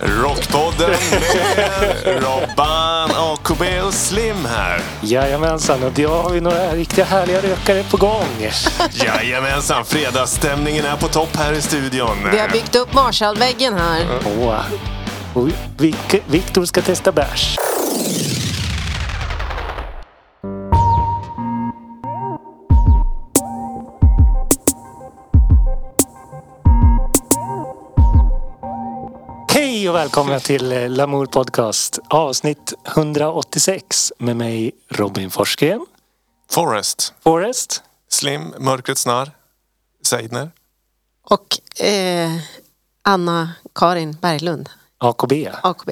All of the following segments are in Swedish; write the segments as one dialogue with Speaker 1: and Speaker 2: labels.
Speaker 1: Rockpodden med Robban, AKB och Slim här.
Speaker 2: Jajamensan, och jag har ju några riktiga härliga rökare på gång.
Speaker 1: Jajamensan, fredagsstämningen är på topp här i studion.
Speaker 3: Vi har byggt upp Marshallväggen här.
Speaker 2: Åh. Och Vic- Victor ska testa bärs. Hej och välkomna till eh, Lamour Podcast avsnitt 186 med mig Robin Forsgren,
Speaker 1: Forrest,
Speaker 2: Forrest.
Speaker 1: Slim, Mörkrets snarr, Seidner.
Speaker 3: Och eh, Anna-Karin Berglund,
Speaker 2: AKB.
Speaker 3: AKB.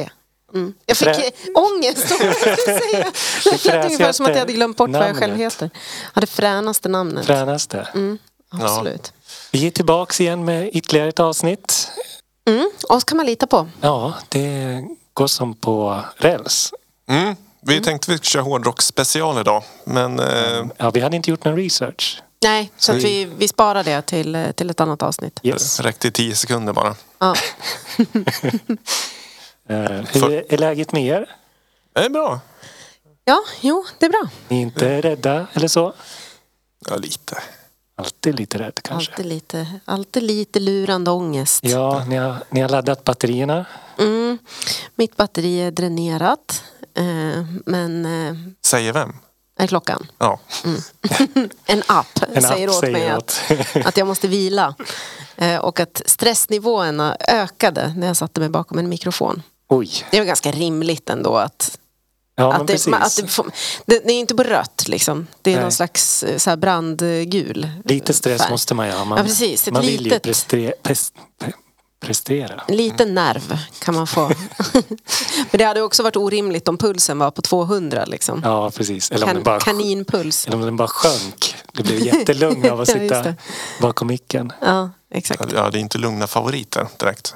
Speaker 3: Mm. Jag fick
Speaker 2: Frä-
Speaker 3: eh, ångest av att jag skulle säga. Det lät ungefär som att jag hade glömt bort vad jag själv
Speaker 2: namnet.
Speaker 3: heter. Ja, det fränaste namnet.
Speaker 2: Fränaste.
Speaker 3: Absolut.
Speaker 2: Vi är tillbaks igen med ytterligare ett avsnitt.
Speaker 3: Oss kan man lita på.
Speaker 2: Ja, det går som på räls.
Speaker 1: Mm. Vi tänkte vi skulle köra hårdrocksspecial idag, men eh,
Speaker 2: Ja, vi hade inte gjort någon research.
Speaker 3: Nej, så att
Speaker 1: Så-
Speaker 3: vi, vi sparar det till, eh, till ett annat avsnitt.
Speaker 2: Yes.
Speaker 1: det räckte i tio sekunder bara.
Speaker 3: Ja.
Speaker 2: Eh, Hur är läget med er?
Speaker 1: Det är bra.
Speaker 3: ja, jo, det är bra.
Speaker 2: Ni är inte
Speaker 3: Eh.
Speaker 2: rädda eller så?
Speaker 1: Ja, lite.
Speaker 2: Alltid lite rädd kanske.
Speaker 3: Alltid lite, alltid lite lurande ångest.
Speaker 2: Ja, ni har, ni har laddat batterierna.
Speaker 3: Mm. Mitt batteri är dränerat. Eh, men eh,
Speaker 1: Säger vem?
Speaker 3: är klockan.
Speaker 1: Ja.
Speaker 3: En app
Speaker 2: En
Speaker 3: säger
Speaker 2: app
Speaker 3: åt
Speaker 2: säger
Speaker 3: mig
Speaker 2: åt.
Speaker 3: att, att jag måste vila. Eh, och att stressnivåerna ökade när jag satte mig bakom en mikrofon.
Speaker 2: Oj.
Speaker 3: Det är väl ganska rimligt ändå att,
Speaker 2: Ja, men
Speaker 3: att, det,
Speaker 2: precis.
Speaker 3: ma- att det, får, det, det är inte på rött liksom. Det är
Speaker 2: Nej.
Speaker 3: någon slags eh, så här brandgul.
Speaker 2: Lite stress
Speaker 3: färg.
Speaker 2: måste man ju ha. Man,
Speaker 3: Ja, precis. Ett
Speaker 2: man vill
Speaker 3: litet-
Speaker 2: ju prestre, pres, pre- prestera.
Speaker 3: En liten nerv kan man få. Men det hade också varit orimligt om pulsen var på 200 liksom.
Speaker 2: Ja, precis. Eller om,
Speaker 3: kan,
Speaker 2: det bara,
Speaker 3: kaninpuls.
Speaker 2: eller om den bara sjönk. Det blev jättelugn av att
Speaker 3: Ja, just
Speaker 2: sitta
Speaker 3: det.
Speaker 2: bakom micken.
Speaker 3: Ja, exakt.
Speaker 1: Ja, det är inte lugna favoriter direkt.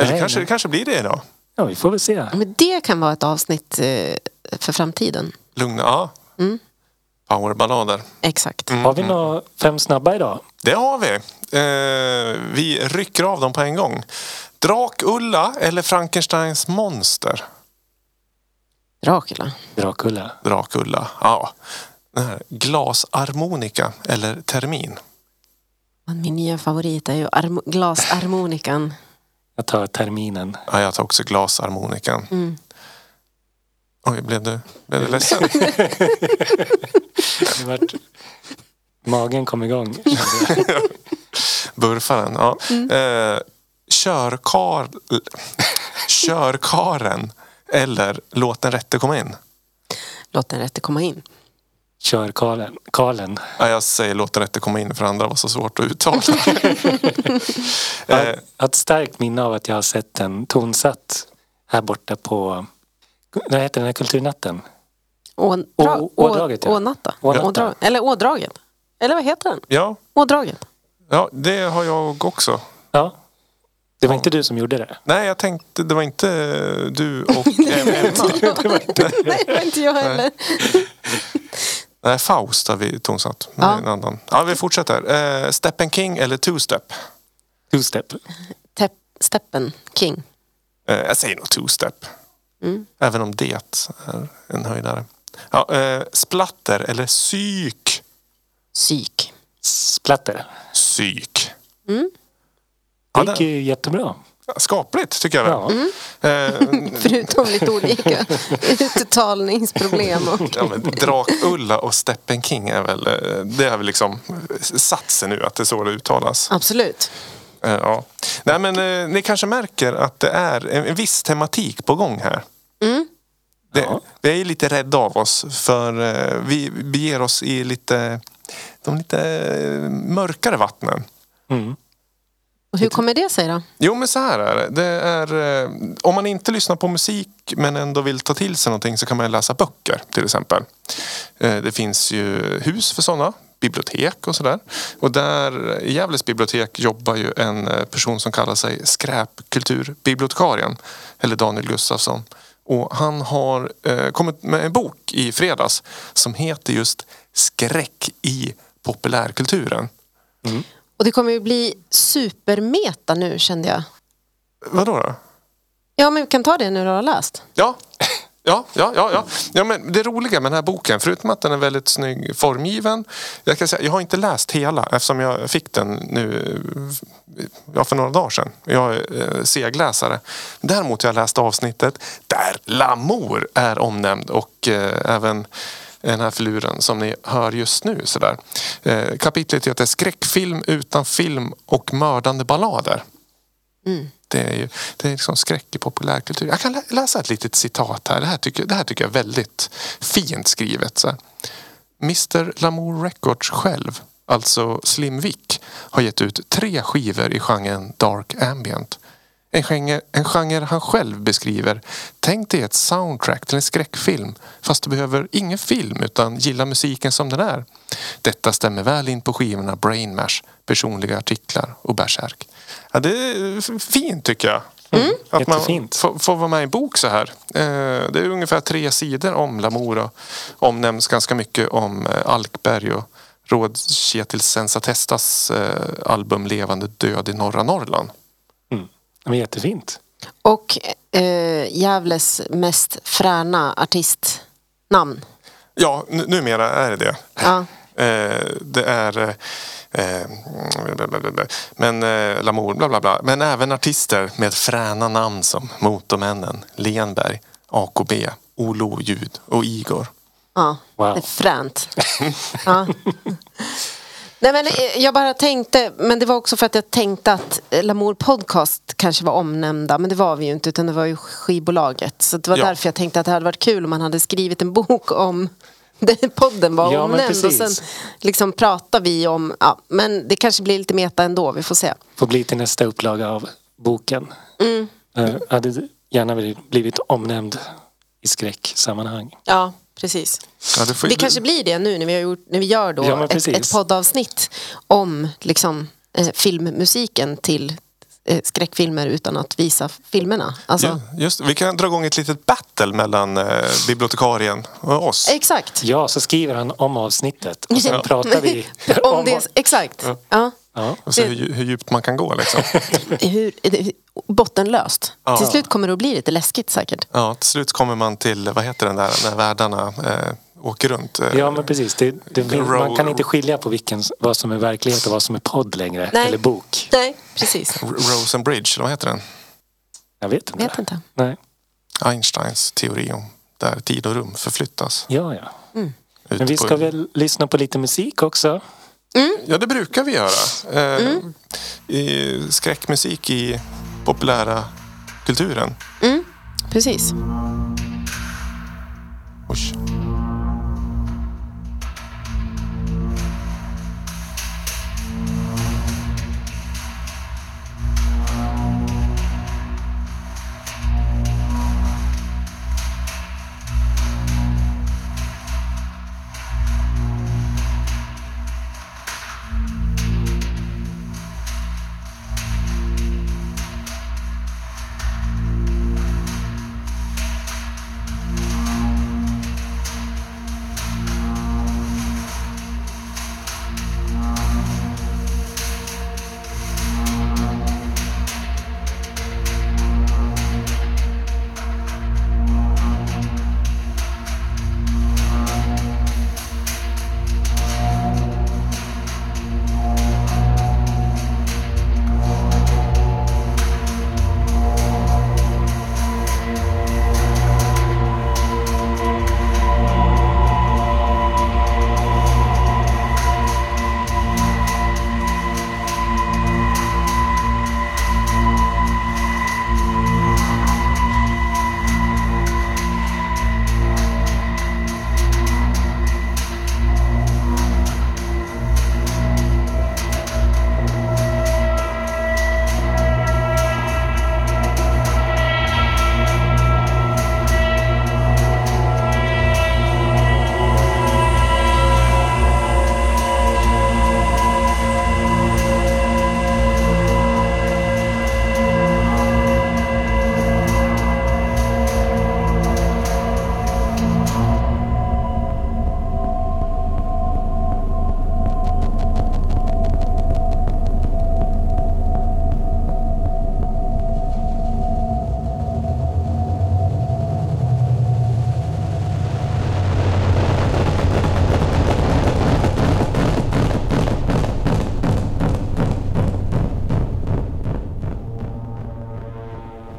Speaker 1: Eller
Speaker 2: Nej,
Speaker 1: kanske,
Speaker 2: nej.
Speaker 1: det kanske blir det idag.
Speaker 2: Ja, vi får väl se.
Speaker 3: Men det kan vara ett avsnitt eh, för framtiden.
Speaker 1: Lugna, ja. Powerballader.
Speaker 3: Exakt.
Speaker 2: Har vi några fem snabba idag?
Speaker 1: Det har vi. Eh, vi rycker av dem på en gång. Drakulla eller Frankensteins monster?
Speaker 3: Dracula.
Speaker 2: Drakulla.
Speaker 1: Drakulla. Ja. Den här, glasharmonika eller termin?
Speaker 3: Min nya favorit är ju arm- glasharmonikan.
Speaker 2: Jag tar terminen.
Speaker 1: Ja, jag tar också glasharmonikan. Oj, blev du, blev du ledsen?
Speaker 2: Det vart... Magen kom igång.
Speaker 1: Burfaren. Ja. Eh, körkar... Körkaren eller Låt den rätte komma in?
Speaker 3: Låt den rätte komma in.
Speaker 2: Kör Karlen. Karlen.
Speaker 1: Ja, jag säger låt den rätte komma in för andra var så svårt att uttala.
Speaker 2: Jag jag
Speaker 1: Eh.
Speaker 2: har ett starkt minne av att jag har sett den tonsatt här borta på... Vad heter den här kulturnatten?
Speaker 3: Å-
Speaker 2: Å- ådraget, ja.
Speaker 3: Ånatta.
Speaker 2: Ånatta.
Speaker 3: Ådra- Eller ådraget. Eller vad heter den?
Speaker 1: ja,
Speaker 3: Ådraget.
Speaker 1: ja, det har jag också.
Speaker 2: Ja. Det var inte du som gjorde det.
Speaker 1: Nej, jag tänkte det var inte eh, du och Emma.
Speaker 3: Nej, det var inte jag heller.
Speaker 1: Nej, Faust har vi tonsatt. Det är
Speaker 3: Ja.
Speaker 1: En annan. Ja, vi fortsätter. Eh, Steppen King eller Two Step?
Speaker 2: Two-step.
Speaker 3: Tep- Steppen King.
Speaker 1: Eh, jag säger nog Two Step. Även om det är en höjdare. Ja, eh, splatter eller psyk?
Speaker 3: Psyk.
Speaker 2: Splatter.
Speaker 1: Psyk.
Speaker 2: Det
Speaker 1: Ja,
Speaker 2: gick
Speaker 1: det,
Speaker 2: ju jättebra.
Speaker 1: skapligt tycker jag väl.
Speaker 2: Ja.
Speaker 1: Eh,
Speaker 3: Förutom lite olika uttalningsproblem. Och...
Speaker 1: Ja, men Drakulla och Steppen King är väl, eh, det är väl liksom satsen nu att det är så det uttalas.
Speaker 3: Absolut.
Speaker 1: Eh, Ja. Nej, men eh, ni kanske märker att det är en en viss tematik på gång här. Det,
Speaker 2: Ja.
Speaker 1: Vi är ju lite rädda av oss för eh, vi beger oss i lite, de lite eh, mörkare vattnen.
Speaker 2: Mm.
Speaker 3: Och hur kommer det sig då?
Speaker 1: Jo men så här är det. det är, eh, om man inte lyssnar på musik men ändå vill ta till sig någonting så kan man ju läsa böcker till exempel. Eh, Det finns ju hus för sådana, bibliotek och sådär. Och där i Gävles bibliotek jobbar ju en eh, person som kallar sig skräpkulturbibliotekarien, eller Daniel Gustafsson. Och han har eh, kommit med en bok i fredags som heter just Skräck i populärkulturen.
Speaker 3: Och det kommer ju bli supermeta nu kände jag.
Speaker 1: Vadå då?
Speaker 3: Ja, men vi kan ta det nu du har läst.
Speaker 1: Ja. Ja, ja, ja, ja. ja men det roliga med den här boken, förutom att den är väldigt snygg formgiven. Jag, kan säga, jag har inte läst hela eftersom jag fick den nu eh, ja, för några dagar sedan. Jag är eh, segläsare. Däremot har jag läst avsnittet där Lamour är omnämnd och eh, även den här filuren som ni hör just nu. Sådär. Eh, kapitlet heter Skräckfilm utan film och mördande ballader. Det är ju det är liksom skräck i populärkultur. Jag kan lä- läsa ett litet citat här. Det här tycker, det här tycker jag är väldigt fint skrivet. Så. här. Mr Lamour Records själv, alltså Slim Vic, har gett ut tre skivor i genren Dark Ambient. En genre, en genre han själv beskriver. Tänk dig ett soundtrack till en skräckfilm. Fast du behöver ingen film utan gilla musiken som den är. Detta stämmer väl in på skivorna Brain Mash, personliga artiklar och Berserk. Ja, det är f- fint tycker jag. Att man
Speaker 2: Jättefint.
Speaker 1: får, får vara med i en bok så här. Eh, Det är ungefär tre sidor om Lamour och omnämns ganska mycket om eh, Alkberg och Rådkjetil Sensatestas eh, album Levande död i norra Norrland.
Speaker 2: Men Mm. jättefint.
Speaker 3: Och eh, Gävles mest fräna artistnamn.
Speaker 1: Ja, n- numera är det det.
Speaker 3: Ja.
Speaker 1: Eh, det är... eh, Eh, bla, bla, bla, bla. Men eh, Lamour, bla bla bla. Men även artister med fräna namn som Motormännen, Lenberg, AKB, Olo Ljud och Igor.
Speaker 3: Ja,
Speaker 2: Wow.
Speaker 3: det är fränt. ja. Nej, men, eh, jag bara tänkte, men det var också för att jag tänkte att eh, Lamour Podcast kanske var omnämnda, men det var vi ju inte, utan det var ju skivbolaget. Så det var
Speaker 1: Ja.
Speaker 3: därför jag tänkte att det hade varit kul om man hade skrivit en bok om den podden var
Speaker 2: Ja, men
Speaker 3: omnämnd och sen
Speaker 2: precis.
Speaker 3: liksom pratar vi om, ja, men det kanske blir lite meta ändå, vi får se.
Speaker 2: Får bli till nästa upplaga av boken. Mm. Hade gärna blivit- blivit omnämnd i skräcksammanhang.
Speaker 3: Ja, precis.
Speaker 1: Ja, det får-
Speaker 3: Det kanske blir det nu när vi, har gjort, när vi gör då
Speaker 2: Ja, men
Speaker 3: ett,
Speaker 2: precis.
Speaker 3: ett poddavsnitt om liksom, eh, filmmusiken till eh, skräckfilmer utan att visa filmerna. Alltså,
Speaker 1: Ju- Just, vi kan dra igång ett litet battle mellan eh, bibliotekarien och oss.
Speaker 3: Exakt.
Speaker 2: Ja, så skriver han om avsnittet och sen
Speaker 3: Ja.
Speaker 2: pratar vi
Speaker 3: om det, exakt. Ja.
Speaker 2: Ja.
Speaker 1: Och se hur, dju- hur djupt man kan gå liksom.
Speaker 3: Hur, eh, bottenlöst.
Speaker 1: Ja.
Speaker 3: Till slut kommer det att bli lite läskigt säkert.
Speaker 1: Ja, till slut kommer man till, vad heter den där, när världarna eh, åker runt. Eh,
Speaker 2: Ja, men precis. Det, det, finns-
Speaker 1: Roll-
Speaker 2: man kan inte skilja på vilken, vad som är verklighet och vad som är podd längre.
Speaker 3: Nej.
Speaker 2: Eller bok.
Speaker 3: Nej, precis.
Speaker 1: R- Rosenbridge, eller vad heter den?
Speaker 2: Jag vet inte.
Speaker 3: Vet inte.
Speaker 2: Nej.
Speaker 1: Einsteins teori om där tid och rum förflyttas.
Speaker 2: Ja, ja.
Speaker 1: ut
Speaker 2: Men vi
Speaker 1: på-
Speaker 2: ska väl lyssna på lite musik också.
Speaker 1: Ja, det brukar vi göra. Eh, i, skräckmusik i populära kulturen.
Speaker 3: Precis.
Speaker 1: Oj.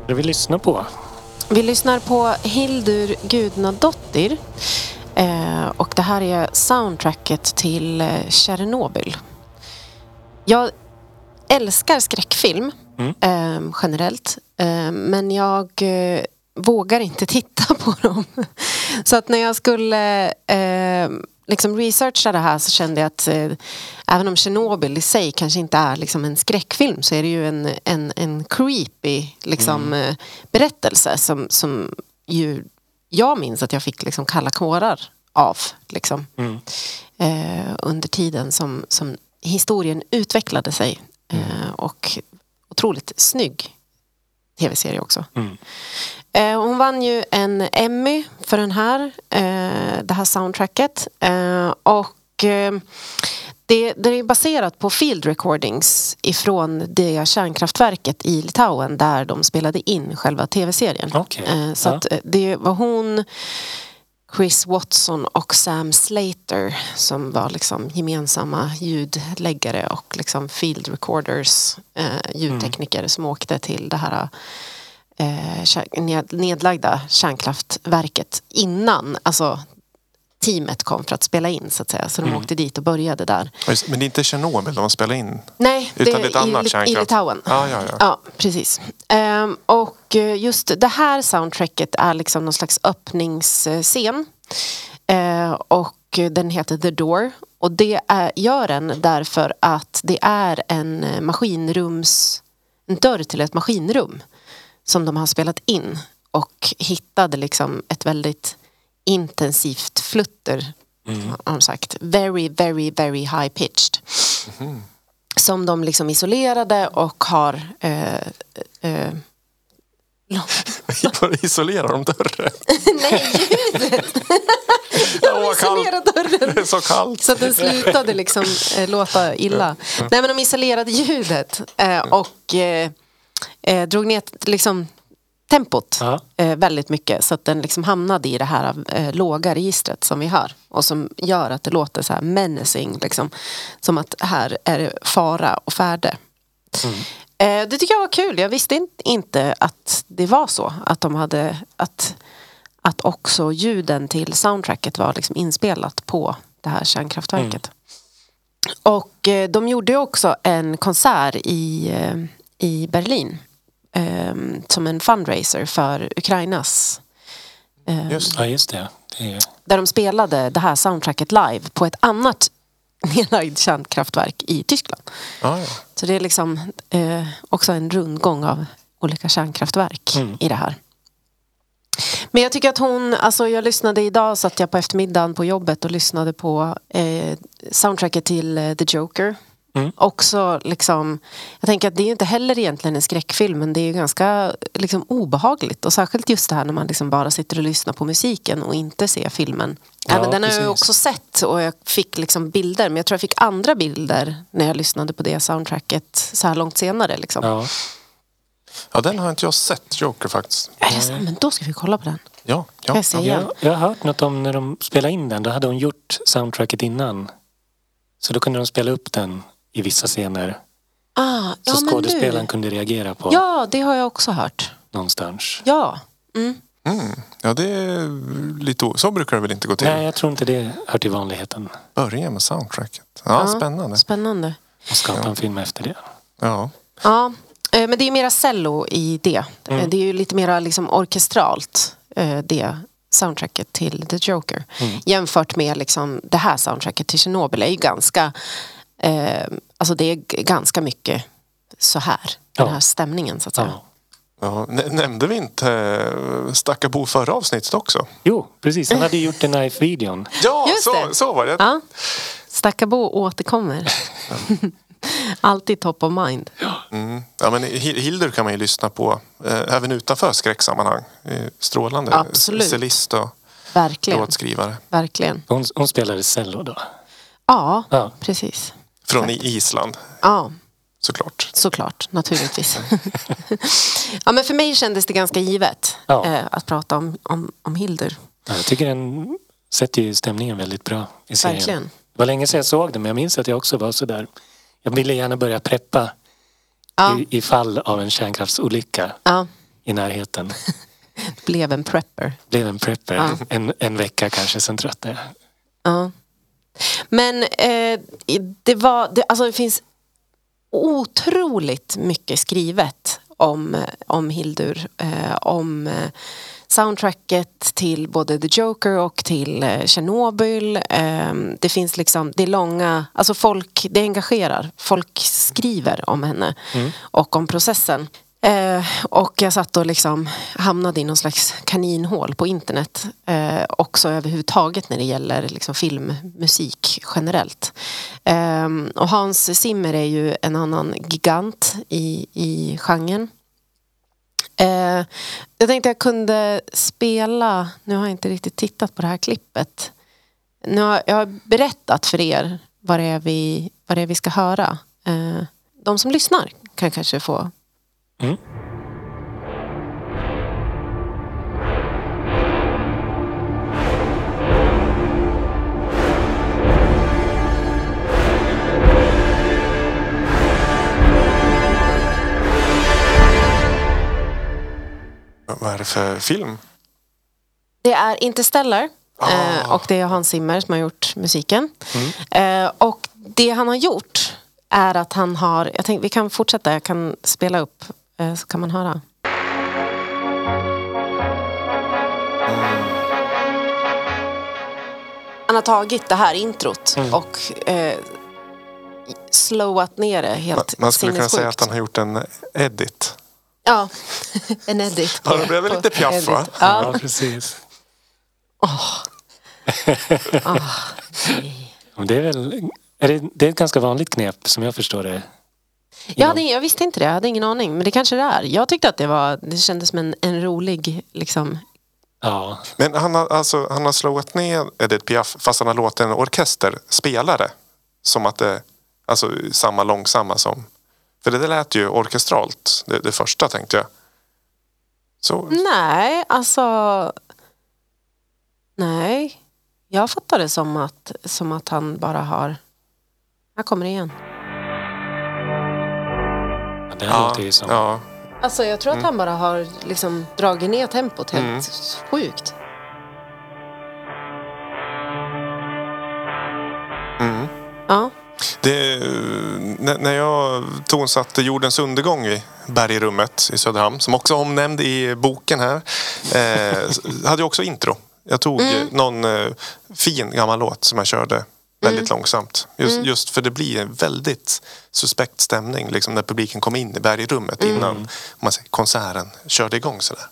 Speaker 2: Det vi lyssnar på.
Speaker 3: Vi lyssnar på Hildur Gudnadottir. Eh, och det här är soundtracket till eh, Tjernobyl. Jag älskar skräckfilm
Speaker 2: Mm.
Speaker 3: eh, generellt. Eh, men jag eh, vågar inte titta på dem. Så att när jag skulle eh, liksom researcha det här så kände jag att eh, även om Tjernobyl i sig kanske inte är liksom en skräckfilm så är det ju en, en, en creepy liksom, eh, berättelse som, som ju jag minns att jag fick liksom kalla kårar av liksom,
Speaker 2: Mm.
Speaker 3: eh, under tiden som, som historien utvecklade sig.
Speaker 2: Mm.
Speaker 3: Eh, och otroligt snygg tv-serie också.
Speaker 2: Mm.
Speaker 3: Eh, hon vann ju en Emmy för den här, eh, det här soundtracket. Eh, och eh, det, det är baserat på field recordings ifrån det kärnkraftverket i Litauen där de spelade in själva tv-serien.
Speaker 2: Okej.
Speaker 3: Eh, så
Speaker 2: Ja.
Speaker 3: att, eh, det var hon, Chris Watson och Sam Slater som var liksom gemensamma ljudläggare och liksom field recorders, eh, ljudtekniker
Speaker 1: Mm.
Speaker 3: som åkte till det här eh, kär- ned- nedlagda kärnkraftverket innan alltså, teamet kom för att spela in så att säga. Så de
Speaker 1: Mm.
Speaker 3: åkte dit och började där.
Speaker 1: Ja, just- Men det är inte Tjernobyl de spelar in?
Speaker 3: Nej,
Speaker 1: Utan det är ett
Speaker 3: i,
Speaker 1: annat
Speaker 3: Lit- i
Speaker 1: kärnkraft-
Speaker 3: Litauen.
Speaker 1: Ja, ja, ja.
Speaker 3: Ja, precis. Ehm, och eh, just det här soundtracket är liksom någon slags öppningsscen. Eh, och eh, den heter The Door. Och det är, gör den därför att det är en eh, maskinrums... En dörr till ett maskinrum som de har spelat in. Och hittade liksom ett väldigt intensivt flutter, har de sagt. Very, very, very high pitched som de liksom isolerade och har... Eh, eh,
Speaker 1: Var isolerar de dörren?
Speaker 3: nej, ljudet!
Speaker 1: Åh,
Speaker 3: de
Speaker 1: vad kallt.
Speaker 3: isolerade dörren
Speaker 1: Det är så kallt.
Speaker 3: så att den slutade liksom eh, låta illa. Nej, men de isolerade ljudet eh, och eh, eh, drog ner t- liksom, tempot
Speaker 2: Ja.
Speaker 3: eh, väldigt mycket så att den liksom hamnade i det här eh, låga registret som vi hör och som gör att det låter så här menacing, liksom, som att här är det fara och färde. Eh, det tycker jag var kul. Jag visste in, inte att det var så. Att de hade att, att också ljuden till soundtracket var liksom inspelat på det här kärnkraftverket. Och eh, de gjorde ju också en konsert i, eh, i Berlin eh, som en fundraiser för Ukrainas. Eh,
Speaker 1: Just
Speaker 2: Ja, just det. det är...
Speaker 3: där de spelade det här soundtracket live på ett annat nedlagt kärnkraftverk i Tyskland.
Speaker 1: Ja, ja.
Speaker 3: Så det är liksom eh, också en rundgång av olika kärnkraftverk
Speaker 2: Mm.
Speaker 3: i det här. Men jag tycker att hon, alltså jag lyssnade idag, satt jag på eftermiddagen på jobbet och lyssnade på eh, soundtracket till eh, The Joker.
Speaker 2: Mm.
Speaker 3: Också liksom, jag tänker att det är ju inte heller egentligen en skräckfilm men det är ju ganska liksom, obehagligt och särskilt just det här när man liksom bara sitter och lyssnar på musiken och inte ser filmen.
Speaker 2: Ja,
Speaker 3: Även den har jag ju
Speaker 2: precis.
Speaker 3: också sett och jag fick liksom bilder men jag tror jag fick andra bilder när jag lyssnade på det soundtracket så här långt senare. Liksom.
Speaker 2: Ja.
Speaker 1: ja, den har inte jag sett, Joker faktiskt.
Speaker 3: Är det så? här? Men då ska vi kolla på den.
Speaker 1: Ja,
Speaker 3: Kan
Speaker 1: ja.
Speaker 3: jag se igen?
Speaker 2: Jag, jag har hört något om när de spelade in den. Då hade hon gjort soundtracket innan. Så då kunde de spela upp den i vissa scener.
Speaker 3: Ah,
Speaker 2: Så
Speaker 3: ja, men
Speaker 2: skådespelaren
Speaker 3: du.
Speaker 2: kunde reagera på
Speaker 3: Ja, det har jag också hört.
Speaker 2: någonstans.
Speaker 3: Ja. Mm.
Speaker 1: Mm. ja det är lite o... Så brukar det väl inte gå till?
Speaker 2: Nej, jag tror inte det hör till vanligheten.
Speaker 1: Börja med soundtracket. Ja,
Speaker 3: Ja.
Speaker 1: spännande.
Speaker 3: Spännande.
Speaker 2: Att skapa en film efter det.
Speaker 1: Ja.
Speaker 3: Ja, eh, men det är mera cello i det. Eh, Det är ju lite mera liksom orkestralt, eh, det soundtracket till The Joker. Jämfört med liksom det här soundtracket till Chernobyl är ju ganska... Eh, alltså det är g- ganska mycket så här, den
Speaker 2: Ja.
Speaker 3: här stämningen så att säga.
Speaker 2: Ja.
Speaker 1: ja. Nä- Nämnde vi inte eh, Stakkarbo förra avsnittet också?
Speaker 2: Jo, precis. Han hade ju gjort den här videon
Speaker 1: Ja,
Speaker 3: Just
Speaker 1: så,
Speaker 3: det.
Speaker 1: så var det.
Speaker 3: Ja. Stakabo återkommer. Alltid top of mind.
Speaker 1: Mm. Ja, men Hi- Hildur kan man ju lyssna på eh, även utanför skräcksammanhang. Eh, Strålande
Speaker 3: Absolut.
Speaker 1: cellist och
Speaker 3: Verkligen.
Speaker 1: låtskrivare
Speaker 3: Verkligen.
Speaker 2: Hon, hon spelade cello då.
Speaker 3: Ja,
Speaker 2: Ja.
Speaker 3: precis.
Speaker 1: från i- Island
Speaker 3: Ja.
Speaker 1: såklart.
Speaker 3: Såklart, naturligtvis. ja, men för mig kändes det ganska givet
Speaker 2: Ja.
Speaker 3: eh, att prata om, om, om Hildur.
Speaker 2: Ja, Jag tycker den sätter ju stämningen väldigt bra i serien.
Speaker 3: Verkligen.
Speaker 2: Det var länge sedan jag såg den men jag minns att jag också var sådär. Jag ville gärna börja preppa
Speaker 3: Ja,
Speaker 2: i, i fall av en kärnkraftsolycka
Speaker 3: ja,
Speaker 2: i närheten.
Speaker 3: Blev en prepper.
Speaker 2: Blev en prepper
Speaker 3: Ja.
Speaker 2: en, en vecka kanske, sen tröttnade jag.
Speaker 3: Ja. Men eh, det var, det, alltså det finns otroligt mycket skrivet om, om Hildur. Eh, om eh, soundtracket till både The Joker och till eh, Tjernobyl. Eh, det finns liksom, det är långa, alltså folk, det engagerar. Folk skriver om henne och om processen. Eh, och jag satt och liksom hamnade i någon slags kaninhål på internet. Eh, också överhuvudtaget när det gäller liksom filmmusik generellt. Eh, och Hans Zimmer är ju en annan gigant i, i genren. Eh, jag tänkte jag kunde spela, nu har jag inte riktigt tittat på det här klippet. Nu har jag har berättat för er vad det är vi, vad det är vi ska höra. Eh, de som lyssnar kan kanske få
Speaker 2: Mm.
Speaker 1: Vad är det för film?
Speaker 3: Det är Interstellar eh,
Speaker 1: Ah. Mm.
Speaker 3: och det är Hans Zimmer som har gjort musiken. Eh, och det han har gjort är att han har, jag tänkte vi kan fortsätta, jag kan spela upp eh, så kan man höra.
Speaker 1: Mm.
Speaker 3: Han har tagit det här introt
Speaker 1: Mm.
Speaker 3: och eh, slowat ner det
Speaker 1: Man,
Speaker 3: helt
Speaker 1: man skulle kunna säga
Speaker 3: sinnessjukt.
Speaker 1: att han har gjort en edit.
Speaker 3: Ja, en edit.
Speaker 1: Ja, det blev väl
Speaker 3: på-
Speaker 1: lite piaff,
Speaker 3: edit.
Speaker 1: va?
Speaker 3: Ja.
Speaker 2: Ja, precis. Men Det är, väl, är det, det är ett ganska vanligt knep som jag förstår det.
Speaker 3: Jag, hade, jag visste inte det, jag hade ingen aning. Men det kanske det är. Jag tyckte att det, var, det kändes som en, en rolig... Liksom.
Speaker 2: Ja,
Speaker 1: Men han har, alltså, han har slowat ner Edith Piaf fast han har låtit en orkester spela det. Som att det alltså samma långsamma som... För det där lät ju orkestralt, det, det första tänkte jag. Så,
Speaker 3: Mm. Nej, alltså... Nej. Jag fattar det som att, som att han bara har... Här kommer det igen.
Speaker 2: ja, det
Speaker 1: ja,
Speaker 2: låter ju som...
Speaker 1: ja.
Speaker 3: Alltså jag tror att han bara har liksom dragit ner tempot helt sjukt.
Speaker 1: Mm.
Speaker 3: Ja.
Speaker 1: Det, eh, när, när jag tonsatte Jordens undergång i Bergrummet i Söderhamn, som också omnämnd i boken här, eh, s- hade jag också intro. Jag tog
Speaker 3: Mm.
Speaker 1: eh, någon eh, fin gammal låt som jag körde väldigt
Speaker 3: Mm.
Speaker 1: långsamt. Just, just för det blir en väldigt suspekt stämning liksom, när publiken kom in i Bergrummet
Speaker 3: Mm.
Speaker 1: innan om man säger, konserten körde igång. Sådär.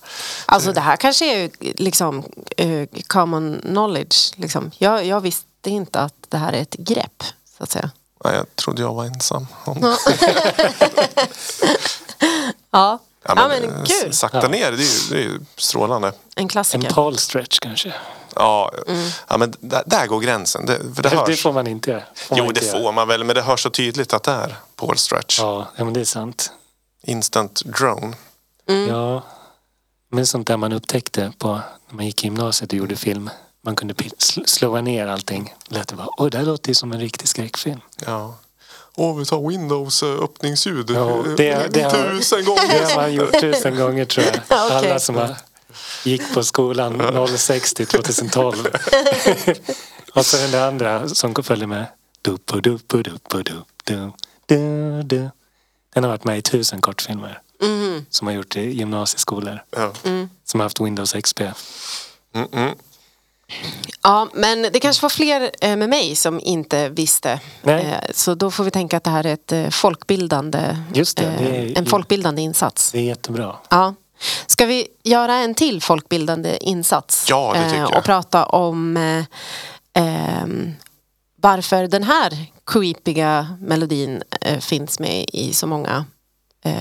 Speaker 3: Alltså det här kanske är ju liksom eh, common knowledge. Liksom. Jag, jag visste inte att det här är ett grepp, så att säga.
Speaker 1: Ja, jag trodde jag var ensam. om-
Speaker 3: Ja, ja, men,
Speaker 1: eh, s-
Speaker 3: kul.
Speaker 1: Sakta
Speaker 2: Ja.
Speaker 1: ner, det är ju, det är ju strålande.
Speaker 3: En
Speaker 2: En
Speaker 3: klassiker.
Speaker 2: Paul stretch kanske.
Speaker 1: Ja, ja men där, där går gränsen. Det, för det, hörs.
Speaker 2: Mm. Det får man inte göra. Får man
Speaker 1: Jo,
Speaker 2: inte
Speaker 1: det får man väl, men det hörs så tydligt att det är Paul Stretch.
Speaker 2: Ja, ja, men det är sant.
Speaker 1: Instant drone.
Speaker 2: Ja, men sånt där man upptäckte på när man gick i gymnasiet och gjorde film. Man kunde pil- sl- slåa ner allting. Lät det bara, oj, det här låter ju som en riktig skräckfilm.
Speaker 1: Ja. Åh, vi tar Windows eh, öppningsljud.
Speaker 2: Ja,
Speaker 1: Eh,
Speaker 2: det- det har-
Speaker 1: Tusen
Speaker 2: Det
Speaker 1: gånger.
Speaker 2: har man gjort tusen gånger tror jag.
Speaker 3: Ja, okej.
Speaker 2: Alla som har, gick på skolan 06 till 2012. och så den där andra som följer med. Duppo, duppo, duppo, dup, du, du, du. Den har varit med i tusen kortfilmer. Som har gjort i gymnasieskolor.
Speaker 1: Ja.
Speaker 2: Som har haft Windows XP.
Speaker 1: Mm, mm.
Speaker 3: Ja, men det kanske var fler eh, med mig som inte visste.
Speaker 2: Nej.
Speaker 3: Eh, Så då får vi tänka att det här är ett eh, folkbildande,
Speaker 2: Just det, det
Speaker 3: eh,
Speaker 2: är-
Speaker 3: en folkbildande insats.
Speaker 2: Det är jättebra.
Speaker 3: Ja. Ska vi göra en till folkbildande insats?
Speaker 1: Ja, det tycker
Speaker 3: Eh,
Speaker 1: jag.
Speaker 3: Och prata om eh, ehm, varför den här creepiga melodin eh, finns med i så många eh,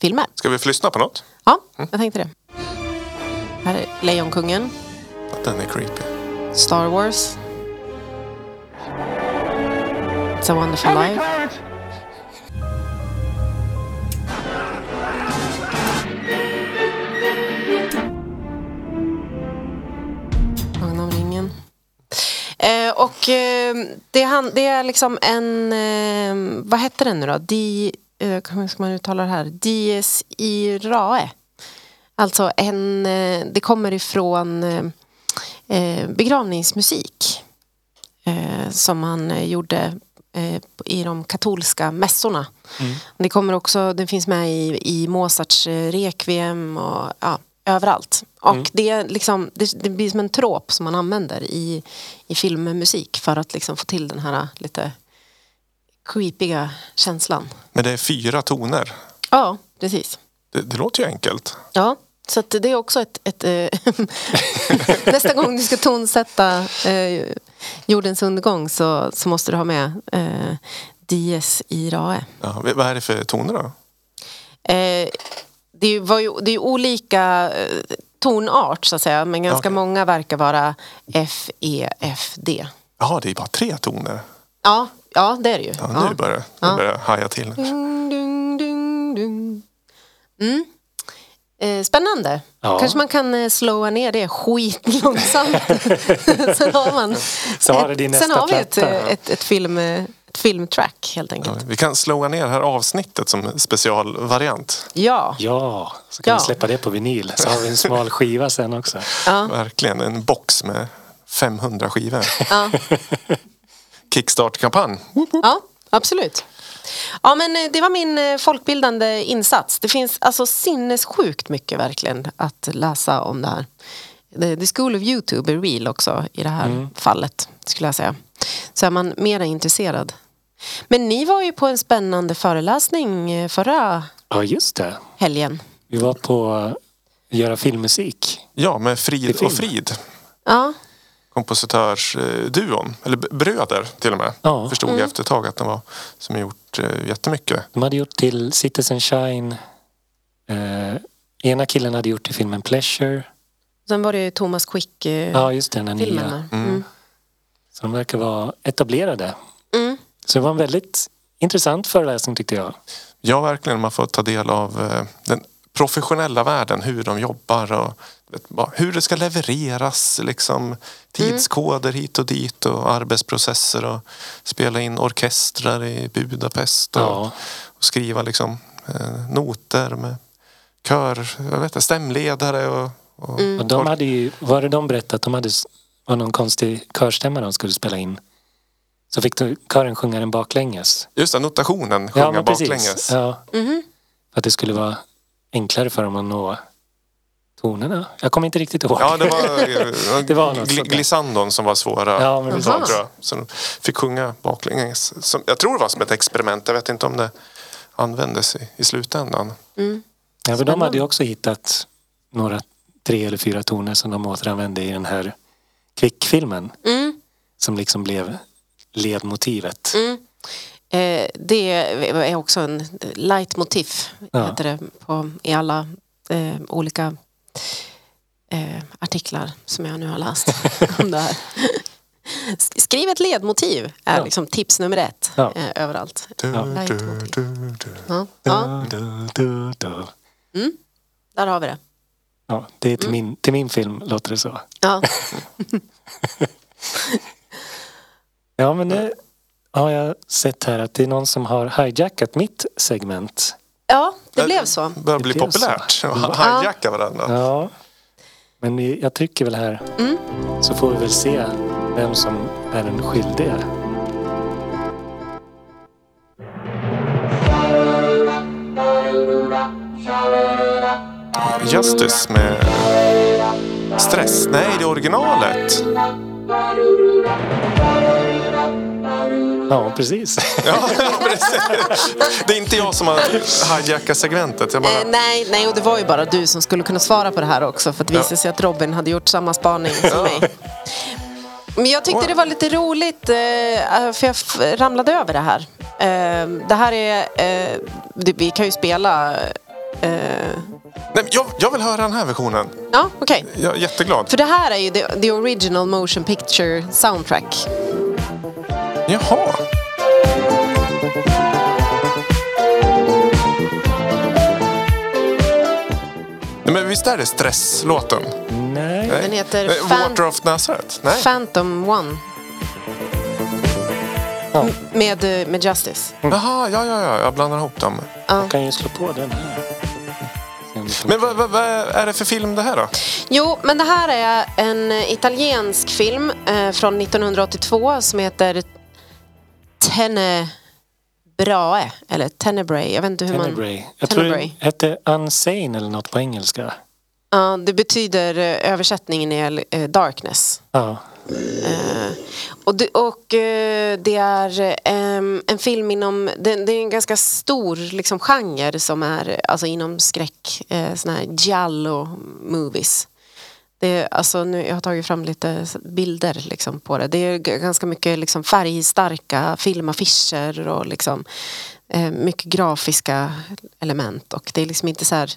Speaker 3: filmer.
Speaker 1: Ska vi få lyssna på något?
Speaker 3: Ja,
Speaker 1: Mm.
Speaker 3: jag tänkte det. Här är Lejonkungen,
Speaker 1: Den är creepy.
Speaker 3: Star Wars. It's a wonderful life. Sagan om ringen. Eh, och eh, det, är han, det är liksom en, eh, vad hette den nu då? Di, eh, hur ska man uttala det här? Dies irae. Alltså en, eh, det kommer ifrån eh, begravningsmusik eh, som man eh, gjorde eh, i de katolska mässorna. Det, kommer också, det finns med i, i Mozarts eh, requiem och ja, överallt. Och det, är liksom, det, det blir som en trop som man använder i, i filmmusik för att liksom få till den här lite creepiga känslan.
Speaker 1: Men det är fyra toner.
Speaker 3: Ja, precis.
Speaker 1: Det, det låter ju enkelt.
Speaker 3: Ja, så att det är också ett... ett eh, nästa gång du ska tonsätta eh, jordens undergång så, så måste du ha med eh, Dies irae.
Speaker 1: Ja, v- vad är det för toner då?
Speaker 3: Eh, det, är ju- var ju, det är ju olika eh, tonart så att säga men ganska
Speaker 1: Okej.
Speaker 3: många verkar vara F, E, F, D.
Speaker 1: Ja, det är bara tre toner.
Speaker 3: Ja, ja det är det ju.
Speaker 1: Ja,
Speaker 3: Ja.
Speaker 1: Nu börjar nu
Speaker 3: Ja.
Speaker 1: börjar jag haja till.
Speaker 3: Dung, dung, dung, dung. Mm. Eh, spännande.
Speaker 2: Ja.
Speaker 3: Kanske man kan eh, slåa ner det skitlångsamt. sen har man
Speaker 2: Så har det din
Speaker 3: sen
Speaker 2: nästa
Speaker 3: har vi ett,
Speaker 2: platta.
Speaker 3: eh, ett, ett, film, eh, ett filmtrack helt enkelt.
Speaker 1: Ja, vi kan slåa ner det här avsnittet som specialvariant.
Speaker 3: Ja.
Speaker 2: Ja, så kan
Speaker 3: Ja.
Speaker 2: vi släppa det på vinyl. Så har vi en smal skiva sen också.
Speaker 3: Ja.
Speaker 1: Verkligen, en box med 500 skivor.
Speaker 3: Ja.
Speaker 1: Kickstart-kampanj.
Speaker 3: Ja, absolut. Ja, men eh, det var min eh, folkbildande insats. Det finns alltså sinnessjukt mycket verkligen att läsa om det här. The, the School of YouTube är real också i det här
Speaker 2: Mm.
Speaker 3: fallet, skulle jag säga. Så är man mer intresserad. Men ni var ju på en spännande föreläsning eh, förra
Speaker 2: Ja, just det.
Speaker 3: helgen.
Speaker 2: Vi var på eh, Göra filmmusik.
Speaker 1: Ja, med
Speaker 2: Det är
Speaker 1: Frid
Speaker 2: film.
Speaker 1: och Frid.
Speaker 3: Ja,
Speaker 1: Kompositörsduon. Eller b- bröder till och med.
Speaker 2: Ja.
Speaker 1: Förstod
Speaker 3: Mm.
Speaker 1: jag efter ett tag att de var som har gjort eh, jättemycket.
Speaker 2: De hade gjort till Citizen Shine. Eh, ena killen hade gjort till filmen Pleasure.
Speaker 3: sen var det ju Thomas eh, Quick-filmen.
Speaker 2: Ja, just det, den här nya. Mm. Så de verkar vara etablerade.
Speaker 3: Mm.
Speaker 2: Så det var en väldigt intressant föreläsning tyckte jag.
Speaker 1: Ja, verkligen. Man får ta del av eh, den professionella världen, hur de jobbar och vet, bara hur det ska levereras.
Speaker 3: Mm.
Speaker 1: Liksom, tidskoder hit och dit och arbetsprocesser och spela in orkestrar i Budapest och,
Speaker 2: Ja.
Speaker 1: och skriva liksom, eh, noter med kör, jag vet inte, stämledare och, och
Speaker 2: Och de hade ju, var det de berättade att de hade s- var någon konstig körstämma de skulle spela in? Så fick de, kören sjunga den baklänges.
Speaker 1: just det, notationen, sjunga baklänges.
Speaker 2: Ja. För att det skulle vara enklare för dem att nå tonerna. Jag kommer inte riktigt ihåg.
Speaker 1: Ja, det var,
Speaker 2: Det
Speaker 1: det
Speaker 2: var något sånt där.
Speaker 1: glissandon som var svåra.
Speaker 2: Ja, men
Speaker 1: Så,
Speaker 3: Aha.
Speaker 1: tror jag. så de fick sjunga baklänges. Som, jag tror det var som ett experiment. Jag vet inte om det användes i, i slutändan.
Speaker 2: Ja, för de hade ju också hittat några tre eller fyra toner som de återanvände i den här kvickfilmen.
Speaker 3: Mm.
Speaker 2: Som liksom blev ledmotivet.
Speaker 3: Eh, det är också en leitmotiv
Speaker 2: Ja.
Speaker 3: heter det, på, i alla eh, olika eh, artiklar som jag nu har läst om det här. Sk- Skriv ett ledmotiv är
Speaker 2: Ja.
Speaker 3: liksom tips nummer ett
Speaker 2: Ja.
Speaker 3: eh, överallt.
Speaker 1: Du,
Speaker 2: Ja.
Speaker 1: du, du, du.
Speaker 3: Ja. Ja,
Speaker 2: Da, da, da, da.
Speaker 3: där har vi det.
Speaker 2: Ja, det är till, min, till min film låter det så.
Speaker 3: Ja.
Speaker 2: Ja, men nu har jag sett här att det är någon som har hijackat mitt segment.
Speaker 3: ja, det
Speaker 1: Ja.
Speaker 3: blev så.
Speaker 1: Det börjar bli
Speaker 2: Det blev så.
Speaker 1: populärt. att Hijacka varandra.
Speaker 2: Ja, Mm. men vi- jag trycker väl här. Så får vi väl se vem som är den skyldige.
Speaker 1: Justice med stress. Nej, det är originalet.
Speaker 2: Ja, precis.
Speaker 1: Ja, precis. det är inte jag som har hijackat segmentet. Jag bara,
Speaker 3: Eh, nej, nej, och det var ju bara du som skulle kunna svara på det här också för att det visade sig att Robin hade gjort samma spaning som mig. Men jag tyckte det var lite roligt eh, för jag f- ramlade över det här. Eh, det här är, eh, det, vi kan ju spela, eh,
Speaker 1: nej, men jag, jag vill höra den här versionen.
Speaker 3: ja okej.
Speaker 1: Jag är jätteglad.
Speaker 3: För det här är ju the, the original motion picture soundtrack.
Speaker 1: Jaha. Nej, men visst är det stresslåten?
Speaker 2: Nej.
Speaker 1: Nej.
Speaker 3: heter
Speaker 1: Eh,
Speaker 3: Fan-
Speaker 1: Water of Nazareth? Nej.
Speaker 3: Phantom One.
Speaker 2: Ja.
Speaker 3: M- Med, eh, med Justice.
Speaker 1: Jaha, ja, ja, ja, jag blandar ihop dem.
Speaker 2: Jag kan ju slå på den här. Se om vi
Speaker 1: Men vad, vad, vad är det för film det här då?
Speaker 3: Jo, men det här är en italiensk film eh, från 1982 som heter Tenebrae. Eller Tenebrae, jag vet inte hur man...
Speaker 2: Tenebrae. Jag tror
Speaker 3: Tenebrae.
Speaker 2: det hette Unsane eller något på engelska.
Speaker 3: Ja, det betyder eh, översättningen är eh, darkness.
Speaker 2: Ja.
Speaker 3: Och det, och, eh, det är ehm, en film inom, det, det är en ganska stor liksom, genre som är eh, alltså, inom skräck, eh, såna här giallo movies. Det är, alltså, nu, jag har tagit fram lite s- bilder liksom, på det. Det är g- ganska mycket liksom, färgstarka filmaffischer och liksom, eh, mycket grafiska element. Och det är liksom inte så här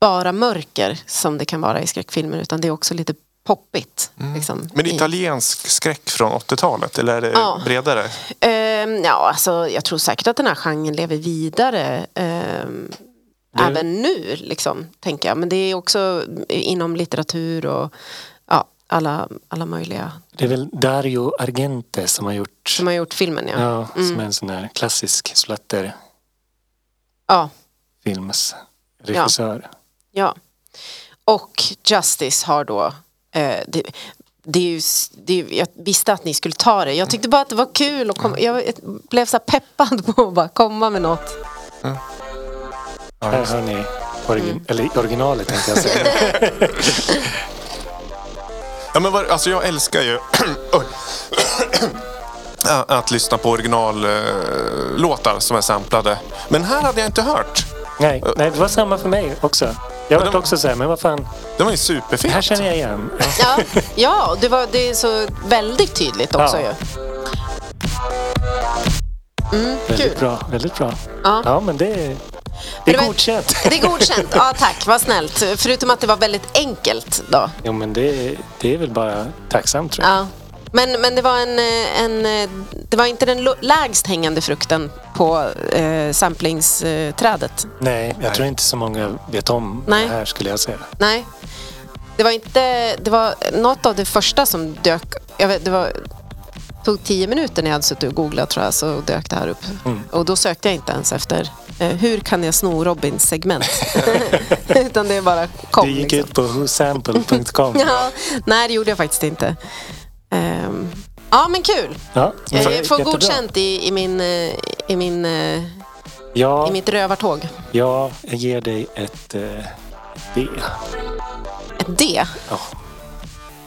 Speaker 3: bara mörker som det kan vara i skräckfilmer utan det är också lite poppigt. Liksom,
Speaker 1: Men
Speaker 3: i-
Speaker 1: italiensk skräck från 80-talet? Eller är det
Speaker 3: Ja.
Speaker 1: bredare?
Speaker 3: Ehm, ja, alltså, jag tror säkert att den här genren lever vidare. ehm,
Speaker 2: Det-
Speaker 3: Även nu, liksom, tänker jag. Men det är också inom litteratur och ja, alla, alla möjliga
Speaker 2: Det är väl Dario Argente som Mm. har gjort
Speaker 3: som har gjort filmen. Ja. Ja.
Speaker 2: Ja, som är en sån här klassisk
Speaker 3: Ja,
Speaker 2: splatterfilmsregissör.
Speaker 3: Och Justice har då... Eh, det, det är ju, s- det är, ju- jag visste att ni skulle ta det. Jag tyckte bara att det var kul. Och kom, jag blev så här peppad på att bara komma med något.
Speaker 2: Här hör ni origin- eller originalet tänkte jag säga.
Speaker 1: Ja, men vad, alltså jag älskar ju Oj. att lyssna på originallåtar som är samplade. Men här hade jag inte hört.
Speaker 2: nej, nej, det var samma för mig också. Jag var också så här, men vad fan,
Speaker 1: Det var ju
Speaker 2: det här
Speaker 1: superfint.
Speaker 2: känner jag igen.
Speaker 3: Ja, ja det, var, det är så väldigt tydligt också
Speaker 2: Ja.
Speaker 3: ju.
Speaker 2: Väldigt bra, väldigt bra.
Speaker 3: Ja.
Speaker 2: men det, är- det
Speaker 3: Men det
Speaker 2: är
Speaker 3: var-
Speaker 2: godkänt.
Speaker 3: Det är godkänt. Ja, tack. Vad snällt. Förutom att det var väldigt enkelt då.
Speaker 2: Jo, men det, är- det är väl bara tacksamt tror jag.
Speaker 3: Ja. Men, men det, var en, eh, en, eh, det var inte den lo- lägst hängande frukten på eh, samplingsträdet.
Speaker 2: Nej, jag tror inte så många vet om
Speaker 3: Nej.
Speaker 2: det här skulle jag säga.
Speaker 3: Nej. Det var inte... Det var något av det första som dök... Jag vet, det var, tog tio minuter när jag hade suttit och googlat tror jag, så dök det här upp.
Speaker 2: Mm.
Speaker 3: Och då sökte jag inte ens efter eh, hur kan jag sno Robins segment? Utan det bara kom.
Speaker 2: Det gick
Speaker 3: liksom.
Speaker 2: ut på whosample.com.
Speaker 3: Ja, nej, det gjorde jag faktiskt inte. Ehm, ja, men kul.
Speaker 2: Ja, men
Speaker 3: Jag får
Speaker 2: jättebra.
Speaker 3: godkänt i, i, min, eh, i, min, eh, i
Speaker 2: Ja,
Speaker 3: mitt rövartåg.
Speaker 2: ja, jag ger dig ett eh, B.
Speaker 3: Ett D.
Speaker 2: Ja.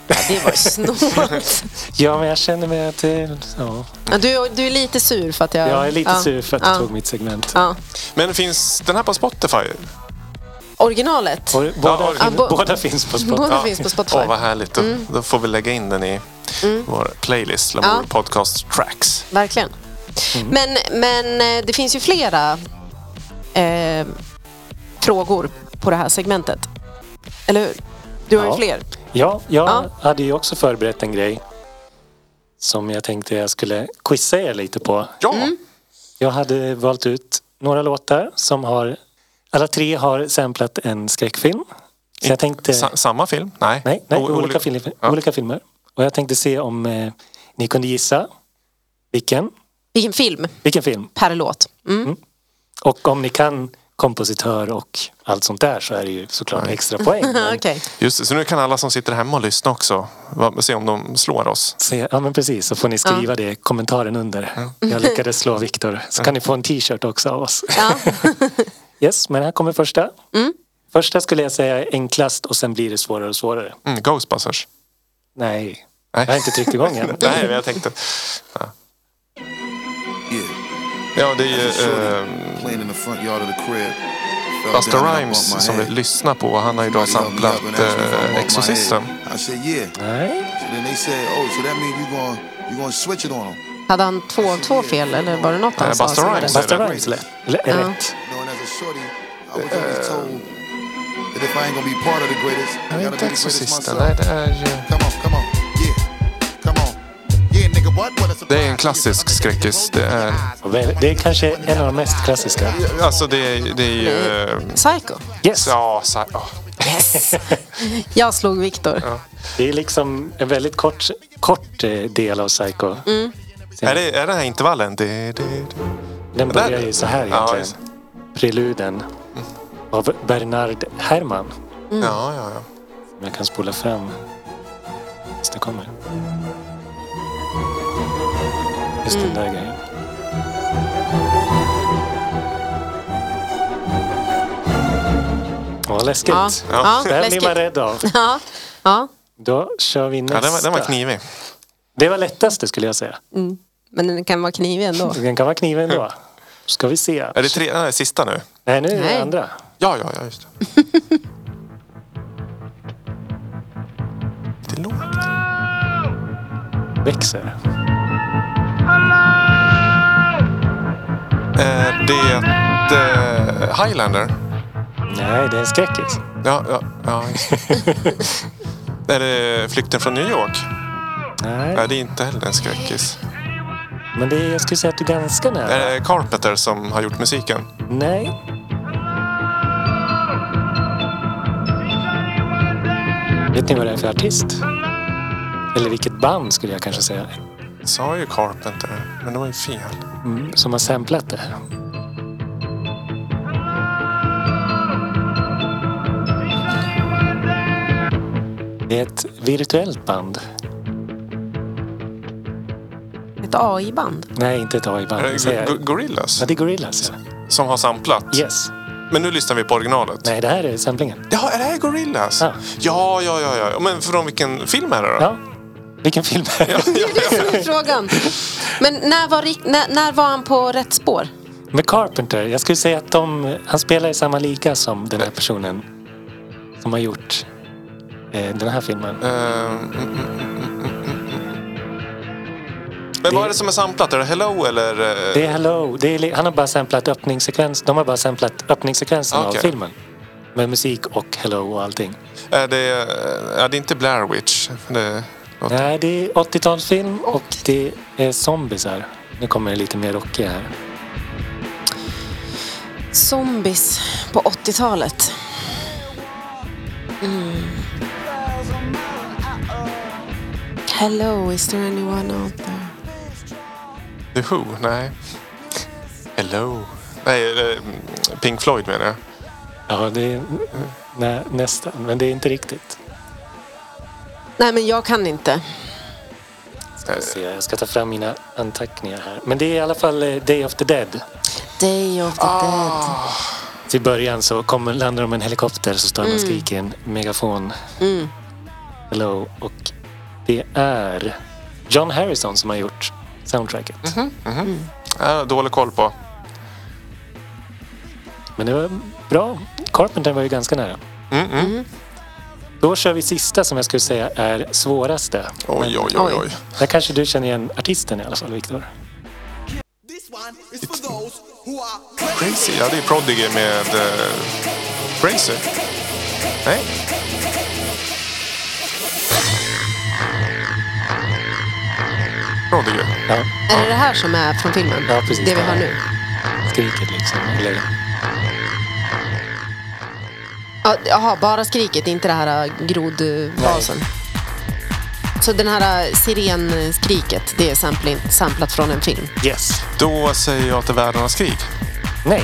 Speaker 3: Ja, det var ju snålt.
Speaker 2: Ja, men jag känner mig att det- ja.
Speaker 3: Ja, Du, du är lite sur för att jag...
Speaker 2: jag är lite
Speaker 3: ja,
Speaker 2: sur för att
Speaker 3: ja,
Speaker 2: du tog mitt segment.
Speaker 3: Ja.
Speaker 1: Men finns den här på Spotify?
Speaker 3: Originalet.
Speaker 2: Och båda,
Speaker 1: Ja,
Speaker 2: fin-
Speaker 3: bo-
Speaker 2: båda finns på Spotify.
Speaker 3: Båda finns på Spotify. Mm.
Speaker 1: Åh, vad härligt. Då, då får vi lägga in den i vår playlist, Lamour
Speaker 3: Ja.
Speaker 1: Podcast Tracks.
Speaker 3: Verkligen.
Speaker 2: Mm.
Speaker 3: Men, men eh, det finns ju flera eh, frågor på det här segmentet. Eller hur? Du har
Speaker 2: Ja.
Speaker 3: ju fler.
Speaker 2: Ja, jag
Speaker 3: Ja.
Speaker 2: hade ju också förberett en grej som jag tänkte jag skulle quizza er lite på.
Speaker 1: Ja,
Speaker 3: Mm.
Speaker 2: Jag hade valt ut några låtar som har... Alla tre har samplat en skräckfilm. Så jag tänkte...
Speaker 1: Sa- samma film? Nej,
Speaker 2: Eh. Nej, nej
Speaker 1: O-
Speaker 2: olika,
Speaker 1: olika-
Speaker 2: filmer,
Speaker 1: Ja.
Speaker 2: olika filmer. Och jag tänkte se om eh, ni kunde gissa vilken,
Speaker 3: Vilken film
Speaker 2: vilken film.
Speaker 3: per låt. Mm.
Speaker 2: Och om ni kan kompositör och allt sånt där så är det ju såklart extra poäng. Men,
Speaker 3: Okej.
Speaker 1: Just det, så nu kan alla som sitter hemma och lyssna också va- se om de slår oss.
Speaker 2: se, ja men precis, så får ni skriva det i kommentaren under. Jag lyckades slå Viktor. Så kan ni få en t-shirt också av oss.
Speaker 3: Ja.
Speaker 2: Yes, men här kommer första. Första skulle jag säga är enklast och sen blir det svårare och svårare.
Speaker 1: Mm, Ghostbusters.
Speaker 2: Nej,
Speaker 1: Nej.
Speaker 2: jag har inte tryckt igång än.
Speaker 1: Nej, men jag tänkte...
Speaker 4: Yeah. um,
Speaker 1: Ja, det är ju eh,
Speaker 4: Shorty playing in the front yard of the crib. Fell
Speaker 1: Buster
Speaker 4: down and I
Speaker 1: Rhymes
Speaker 4: bumped my
Speaker 1: som vi
Speaker 4: head.
Speaker 1: lyssnar på. Han har ju då
Speaker 4: Somebody helped me
Speaker 1: samplat
Speaker 4: up and asked me if I bumped
Speaker 1: eh,
Speaker 4: my
Speaker 1: Exorcisten.
Speaker 4: head. I said yeah.
Speaker 2: Nej.
Speaker 4: So then they said, oh, so that means you gonna you gonna switch it on him.
Speaker 3: Hade han två av två fel eller var det något han
Speaker 1: Nej,
Speaker 3: sa?
Speaker 1: Busta
Speaker 3: som var
Speaker 1: Rhymes.
Speaker 3: rätt?
Speaker 2: Buster Rhymes eller? eller är rätt.
Speaker 4: You know, and as a shorty, I was always told that if I ain't gonna be part of the greatest,
Speaker 1: Jag
Speaker 4: Uh, I
Speaker 1: vet
Speaker 4: gotta be
Speaker 1: inte
Speaker 4: the greatest
Speaker 1: Exorcisten.
Speaker 4: myself.
Speaker 1: Nej, det är ju...
Speaker 4: Come on, come on, yeah, come on. Yeah, nigga, what? What a surprise.
Speaker 1: Det är en klassisk skräckis. Det är,
Speaker 4: uh,
Speaker 2: Och väl- Det är kanske en av de mest klassiska.
Speaker 1: alltså det är, det är ju... eh,
Speaker 3: Psycho.
Speaker 2: Yes.
Speaker 1: Ja, så, ja.
Speaker 3: Yes. Jag slog Viktor.
Speaker 2: Det är liksom en väldigt kort, kort eh, del av Psycho.
Speaker 1: Är, det, är det här intervallen? Det, det, det.
Speaker 2: Den börjar ju så här
Speaker 1: Ja, Mm.
Speaker 2: egentligen.
Speaker 1: just-
Speaker 2: Preluden. av Bernard Herrmann.
Speaker 1: Ja, ja, ja.
Speaker 2: Som jag kan spola fram tills det kommer. Just den
Speaker 3: Mm.
Speaker 2: där grejen. Vad läskigt.
Speaker 3: Ja. Ja,
Speaker 2: Den blir
Speaker 3: läskigt.
Speaker 2: man rädd av.
Speaker 3: Ja. ja.
Speaker 2: Då kör vi nästa.
Speaker 1: ja den, var, den var knivig.
Speaker 2: Det var lättaste skulle jag säga.
Speaker 3: Men den kan vara knivig ändå.
Speaker 2: Den kan vara kniven då. Ska vi se.
Speaker 1: Är det tre, nej, sista nu?
Speaker 2: Nej, nu är
Speaker 3: Nej.
Speaker 2: det andra.
Speaker 1: Ja, ja, ja, just det. det låter...
Speaker 2: Växer.
Speaker 1: Eh, det är ett, eh, Highlander.
Speaker 2: Nej, det är en skräckis.
Speaker 1: Ja, ja, ja. just det. är det Flykten från New York?
Speaker 2: Nej,
Speaker 1: Nej, det är inte heller en skräckis.
Speaker 2: men det är, jag skulle säga att du är ganska
Speaker 1: Är
Speaker 2: nära.
Speaker 1: det Carpenter som har gjort musiken?
Speaker 2: Nej. Vet ni vad det är för artist? Eller vilket band skulle jag kanske säga.
Speaker 1: Sa ju Carpenter, men det var ju fel.
Speaker 2: Mm, som har samplat det. Det är ett virtuellt band.
Speaker 3: Ett AI-band.
Speaker 2: Nej, inte ett AI-band.
Speaker 1: Är
Speaker 2: jag
Speaker 1: det
Speaker 2: säger-
Speaker 1: Go- Gorillas
Speaker 2: Ja, det är Gorillaz. Ja.
Speaker 1: som har samplat?
Speaker 2: Yes.
Speaker 1: Men nu lyssnar vi på originalet.
Speaker 2: Nej, det här är samplingen.
Speaker 1: Ja, är det här Gorillas?
Speaker 2: Ja.
Speaker 1: Ja, ja, ja, ja. Men från vilken film är det då?
Speaker 2: Ja. Vilken film är det?
Speaker 3: Det är det som är frågan. Men när var, Rick- när, när var han på rätt spår?
Speaker 2: Med Carpenter. Jag skulle säga att de, han spelar i samma liga som den här personen som har gjort eh, den här filmen.
Speaker 1: Ehm, mm, mm, mm, mm, mm, mm. Men vad är det som är samplat? Är det Hello eller? eh,
Speaker 2: Det är Hello. Det är, li- han har bara samplat öppningssekvens. De har bara samplat öppningssekvensen av
Speaker 1: Okej.
Speaker 2: filmen. Med musik och Hello och allting.
Speaker 1: Är det, eh, ja, det är inte Blair Witch. Det, låter-
Speaker 2: Nej, det är 80-talsfilm och det är zombiesar. Nu kommer det lite mer rockiga här.
Speaker 3: Zombies på 80-talet. Mm. Hello, is there anyone out there?
Speaker 1: The Who? Nej. Hello? Nej, eh, Pink Floyd menar jag.
Speaker 2: Ja, det är nä, nästan. Men det är inte riktigt.
Speaker 3: Nej, men jag kan inte.
Speaker 2: Ska
Speaker 1: Eh,
Speaker 2: vi se, jag ska ta fram mina anteckningar här. Men det är i alla fall eh, Day of the Dead.
Speaker 3: Day of the Dead.
Speaker 2: Till början så kommer, landar de med en helikopter så står de och skriker i en megafon.
Speaker 3: Mm.
Speaker 2: Hello. Och det är John Harrison som har gjort soundtracket.
Speaker 1: Ja, äh, dålig koll på.
Speaker 2: Men det var bra. Carpenter var ju ganska nära.
Speaker 1: Mm, mm.
Speaker 2: Då kör vi sista som jag skulle säga är svåraste.
Speaker 1: Oj, oj, oj, oj.
Speaker 2: Där kanske du känner igen artisten i alla fall, Viktor.
Speaker 5: This one is for those who are
Speaker 1: Crazy. Ja, det är Prodigy med eh, Crazy. Nej. Prodigy.
Speaker 2: Ja,
Speaker 3: Är det det här som är från filmen?
Speaker 2: Ja, precis.
Speaker 3: Det vi har nu?
Speaker 2: skriket liksom. Eller,
Speaker 3: Ja, Jaha, bara skriket, inte det här äh, grodbasen. Så den här äh, sirenskriket, det är sampling- samplat från en film?
Speaker 2: yes.
Speaker 1: Då säger jag till Världarnas krig.
Speaker 2: Nej.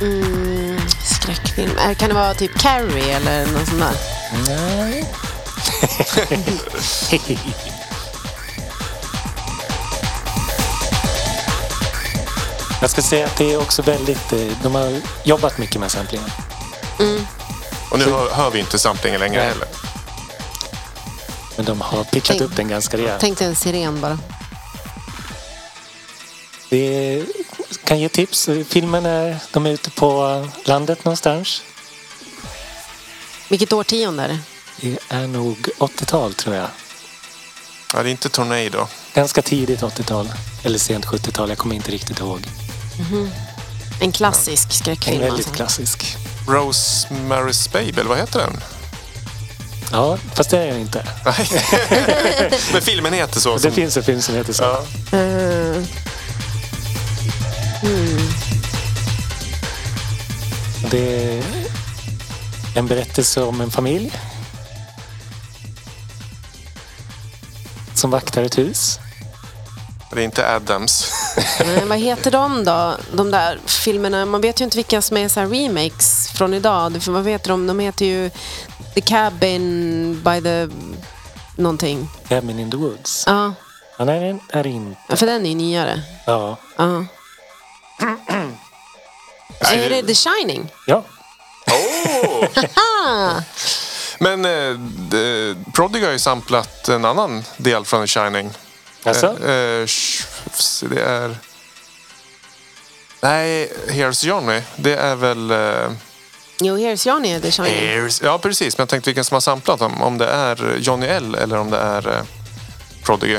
Speaker 3: Mm, Skräckfilm? Äh, Kan det vara typ Carrie eller något sånt där?
Speaker 2: Nej. Jag ska säga att det är också väldigt... eh, De har jobbat mycket med samplingen.
Speaker 1: Och nu hör, hör vi inte samplingen längre
Speaker 2: Nej.
Speaker 1: heller.
Speaker 2: Men de har pitchat upp den ganska rejält.
Speaker 3: Tänkte en siren bara.
Speaker 2: Det kan ge tips. Filmen är... De är ute på landet någonstans.
Speaker 3: Vilket årtionde är det?
Speaker 2: Det är nog 80-tal tror jag.
Speaker 1: Ja, det är inte Tornado.
Speaker 2: Ganska tidigt 80-tal. Eller sent 70-tal. Jag kommer inte riktigt ihåg.
Speaker 3: En klassisk skräckfilm
Speaker 2: Väldigt
Speaker 3: alltså.
Speaker 2: klassisk.
Speaker 1: Rosemary's Baby, eller vad heter den?
Speaker 2: Ja, fast det är jag inte.
Speaker 1: Nej. Men filmen heter så.
Speaker 2: Det
Speaker 1: Som,
Speaker 2: finns en film som heter så.
Speaker 1: ja.
Speaker 3: Eh,
Speaker 2: Det är en berättelse om en familj. Som vaktar ett hus.
Speaker 1: Det är inte Adams.
Speaker 3: Men vad heter de då? De där filmerna. Man vet ju inte vilka som är så här remakes från idag. Det- För vad heter de? De heter ju The Cabin by the... Någonting.
Speaker 2: Cabin in the Woods.
Speaker 3: Ja,
Speaker 2: Ja, nej, den är inte...
Speaker 3: för den är ju nyare.
Speaker 2: Ja.
Speaker 3: Ja. Är det The Shining?
Speaker 2: ja.
Speaker 1: Men eh, d- Prodigy har ju samplat en annan del från The Shining.
Speaker 2: Alltså,
Speaker 1: Eh, eh, sh- f- det är... Nej, Here's Johnny. Det är väl... Eh,
Speaker 3: Jo, Here's Johnny är The Shining.
Speaker 1: Here's... Ja, precis. Men jag tänkte vilken som har samplat dem. Om det är Johnny L eller om det är eh, Prodigy.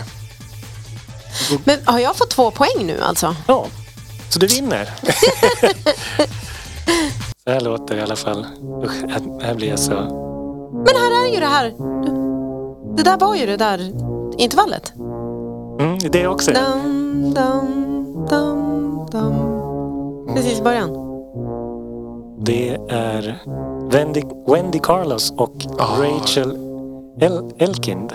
Speaker 3: Men har jag fått två poäng nu alltså?
Speaker 2: ja. Så du vinner. så här låter det i alla fall. Usch, här- här blir jag så...
Speaker 3: Men här är ju det här. Det där var ju det där intervallet.
Speaker 2: Mm, det är också.
Speaker 3: Dum, dum, dum, dum. Precis i början.
Speaker 2: Det är Wendy, Wendy Carlos och Rachel El, Elkind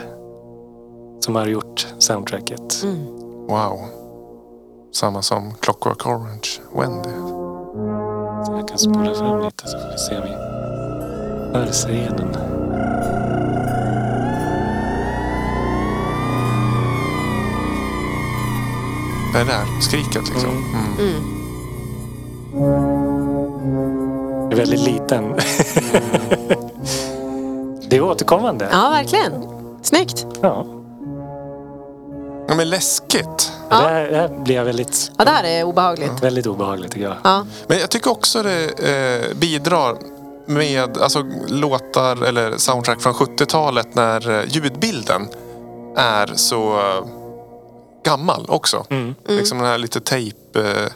Speaker 2: som har gjort soundtracket.
Speaker 1: Wow. Samma som Clockwork Orange, Wendy.
Speaker 2: Så Jag kan spola fram lite så får vi se om vi hör scenen.
Speaker 1: Det är där skriket liksom. Mm.
Speaker 2: Det är väldigt liten. det är återkommande.
Speaker 3: Ja, verkligen. Snyggt.
Speaker 2: Ja.
Speaker 1: Ja, men läskigt.
Speaker 3: Ja.
Speaker 2: Det, här, det här blir jag väldigt,
Speaker 3: Ja, det här är obehagligt.
Speaker 2: väldigt obehagligt tycker jag.
Speaker 3: Ja.
Speaker 1: Men jag tycker också det eh, bidrar med alltså, låtar eller soundtrack från 70-talet när eh, ljudbilden är så eh, gammal också.
Speaker 2: Mm.
Speaker 1: Liksom den här lite tejp... Eh,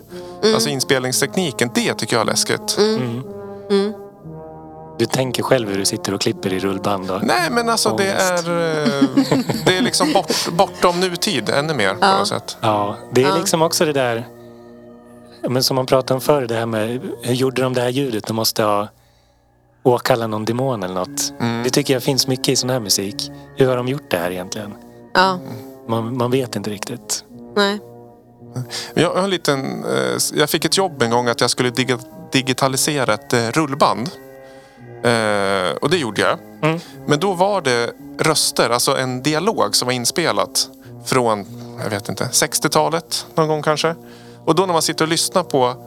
Speaker 1: Alltså inspelningstekniken, det tycker jag är läskigt.
Speaker 2: Mm.
Speaker 3: Mm.
Speaker 2: Du tänker själv hur du sitter och klipper i rullband. Och,
Speaker 1: Nej men alltså det
Speaker 2: Ångest.
Speaker 1: är, eh, det är liksom bort, bortom nutid ännu mer på något sätt.
Speaker 2: ja, det är liksom också det där men som man pratade om förr, det här med hur gjorde de det här ljudet? De måste ha åkalla någon demon eller något. Det tycker jag finns mycket i sån här musik. Hur har de gjort det här egentligen?
Speaker 3: ja.
Speaker 2: Man, man vet inte riktigt.
Speaker 3: Nej.
Speaker 1: Jag, har en liten, eh, jag fick ett jobb en gång att jag skulle diga, digitalisera ett eh, rullband. Eh, och det gjorde jag. Men då var det röster, alltså en dialog som var inspelat från, jag vet inte, 60-talet någon gång kanske. Och då när man sitter och lyssnar på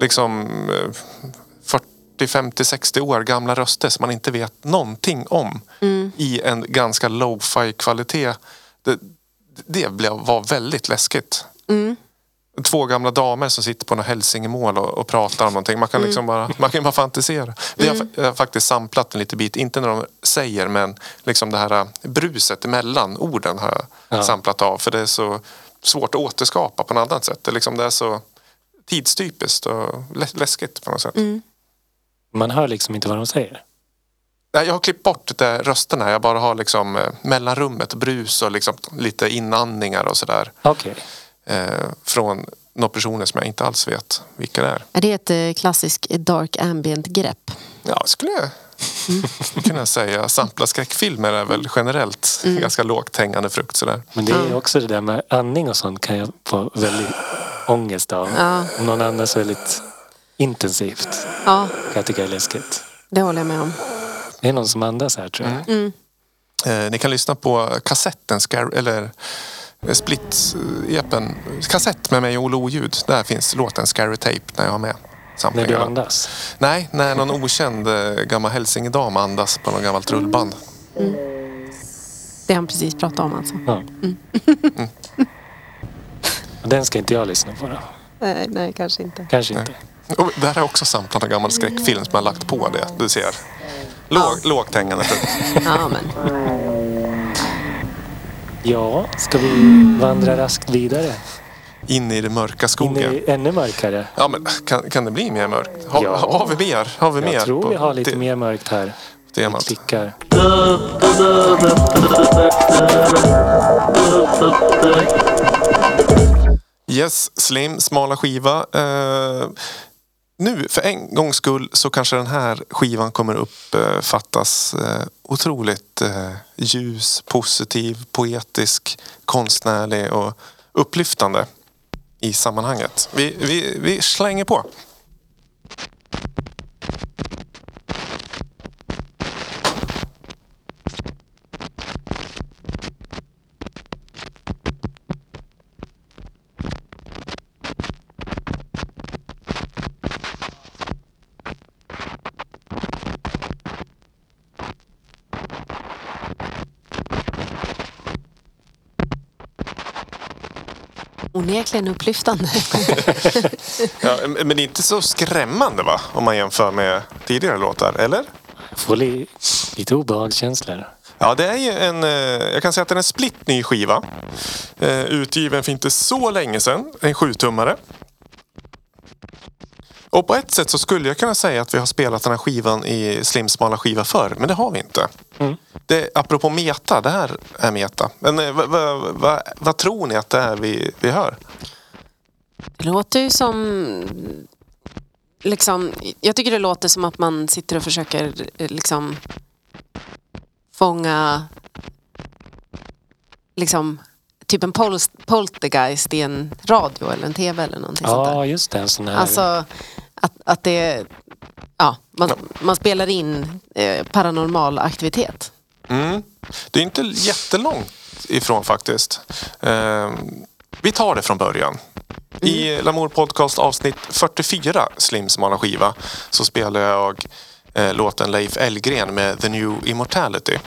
Speaker 1: liksom eh, 40, 50, 60 år gamla röster som man inte vet någonting om i en ganska low-fi kvalitet. Det, det blev, var väldigt läskigt två gamla damer som sitter på något hälsingemål och, och pratar om någonting. Man kan, liksom bara, man kan bara fantisera. Vi har, fa- jag har faktiskt samplat en liten bit, inte när de säger men liksom det här eh, bruset mellan orden har jag samplat av. För det är så svårt att återskapa på något annat sätt. Det är, liksom, det är så tidstypiskt och lä- läskigt på något sätt.
Speaker 2: Man hör liksom inte vad de säger.
Speaker 1: Nej, Jag har klippt bort det, rösterna, jag bara har liksom eh, mellanrummet, brus och liksom lite inandningar och sådär.
Speaker 2: Okej.
Speaker 1: Eh, från några personer som jag inte alls vet vilka det är.
Speaker 3: Är det ett eh, klassiskt dark ambient-grepp?
Speaker 1: Ja, skulle jag
Speaker 2: Mm.
Speaker 1: kunna säga. Sampla skräckfilmer är väl generellt
Speaker 2: Mm.
Speaker 1: ganska lågt hängande frukt. Sådär.
Speaker 2: Men det är ju också det där med andning och sånt kan jag få väldigt ångest av. Om någon andas väldigt intensivt
Speaker 3: Ja,
Speaker 2: kan jag tycka är läskigt.
Speaker 3: det håller jag med om.
Speaker 2: Det är någon som andas här tror jag.
Speaker 3: Mm.
Speaker 1: Eh, ni kan lyssna på kassetten, Scar- eller eh, Split-epen. Kassett med mig och Olle Oljud. Där finns låten Scary Tape när jag har med.
Speaker 2: När du
Speaker 1: samplingarna.
Speaker 2: andas.
Speaker 1: Nej, när någon okänd eh, gammal hälsingedam andas på någon gammalt rullband.
Speaker 3: Det han precis pratade om alltså.
Speaker 2: Ja. Mm. Och Den ska inte jag lyssna på då.
Speaker 3: Nej, Eh, nej kanske inte.
Speaker 2: Kanske inte.
Speaker 1: Och där har jag också samplat en gammal skräckfilm som jag har lagt på det. Du ser. Låg, Lågt hängande frukt.
Speaker 3: Ja, men.
Speaker 2: Ja, ska vi vandra raskt vidare?
Speaker 1: In i den mörka
Speaker 2: In
Speaker 1: skogen.
Speaker 2: i ännu mörkare.
Speaker 1: Ja, men kan, kan det bli mer mörkt? Har,
Speaker 2: Ja.
Speaker 1: har vi mer? Har vi mer
Speaker 2: Jag tror
Speaker 1: på
Speaker 2: vi har lite
Speaker 1: te-
Speaker 2: mer mörkt här.
Speaker 1: temat?
Speaker 2: Klickar.
Speaker 1: Yes, slim, smala skiva. Eh, nu, för en gångs skull, så kanske den här skivan kommer uppfattas eh, otroligt eh, ljus, positiv, poetisk, konstnärlig och upplyftande. i sammanhanget. Vi, vi, vi slänger på.
Speaker 3: Onekligen upplyftande.
Speaker 1: Ja, men det är inte så skrämmande va? Om man jämför med tidigare låtar, eller?
Speaker 2: Jag får li- lite obehagskänslor.
Speaker 1: Ja, det är ju en... eh, Jag kan säga att den är en splitt ny skiva. Eh, Utgiven för inte så länge sedan. En sjutummare. Och på ett sätt så skulle jag kunna säga att vi har spelat den här skivan i slimsmala skiva förr, men det har vi inte. Det, apropå meta, det här är meta. Men eh, vad- vad- vad- vad tror ni att det är vi, vi hör?
Speaker 3: Det låter ju som... Liksom, jag tycker det låter som att man sitter och försöker eh, liksom, fånga liksom, typ en pol poltergeist i en radio eller en tv eller någonting sånt där.
Speaker 2: Ja, just det. En sån här.
Speaker 3: Alltså att, att det... Ja, man, man spelar in eh, paranormal aktivitet.
Speaker 1: Mm. Det är inte jättelångt ifrån faktiskt. Eh, vi tar det från början. I Lamour Podcast avsnitt 44, Slims smala skiva, så spelar jag eh, låten Leif Elgren med The New Immortality.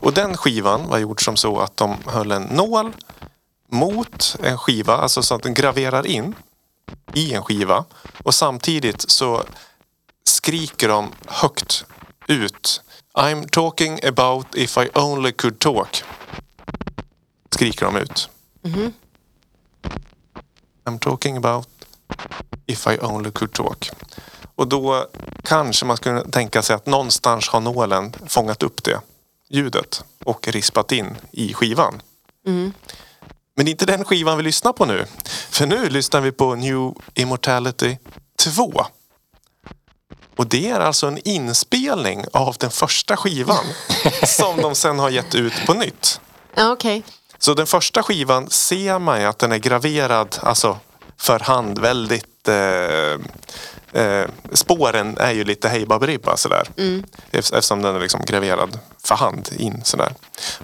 Speaker 1: Och den skivan var gjord som så att de höll en nål mot en skiva, alltså så att den graverar in i en skiva. Och samtidigt så skriker de högt ut. I'm talking about if I only could talk. Skriker de ut. I'm talking about if I only could talk. Och då kanske man skulle tänka sig att någonstans har nålen fångat upp det ljudet och rispat in i skivan. Men det är inte den skivan vi lyssnar på nu. För nu lyssnar vi på New Immortality 2. Och det är alltså en inspelning av den första skivan som de sen har gett ut på nytt.
Speaker 3: Ja, okej.
Speaker 1: Så den första skivan ser man ju att den är graverad alltså för hand väldigt... Eh, eh, spåren är ju lite hej baberiba sådär. Eft- Eftersom den är liksom graverad för hand in sådär.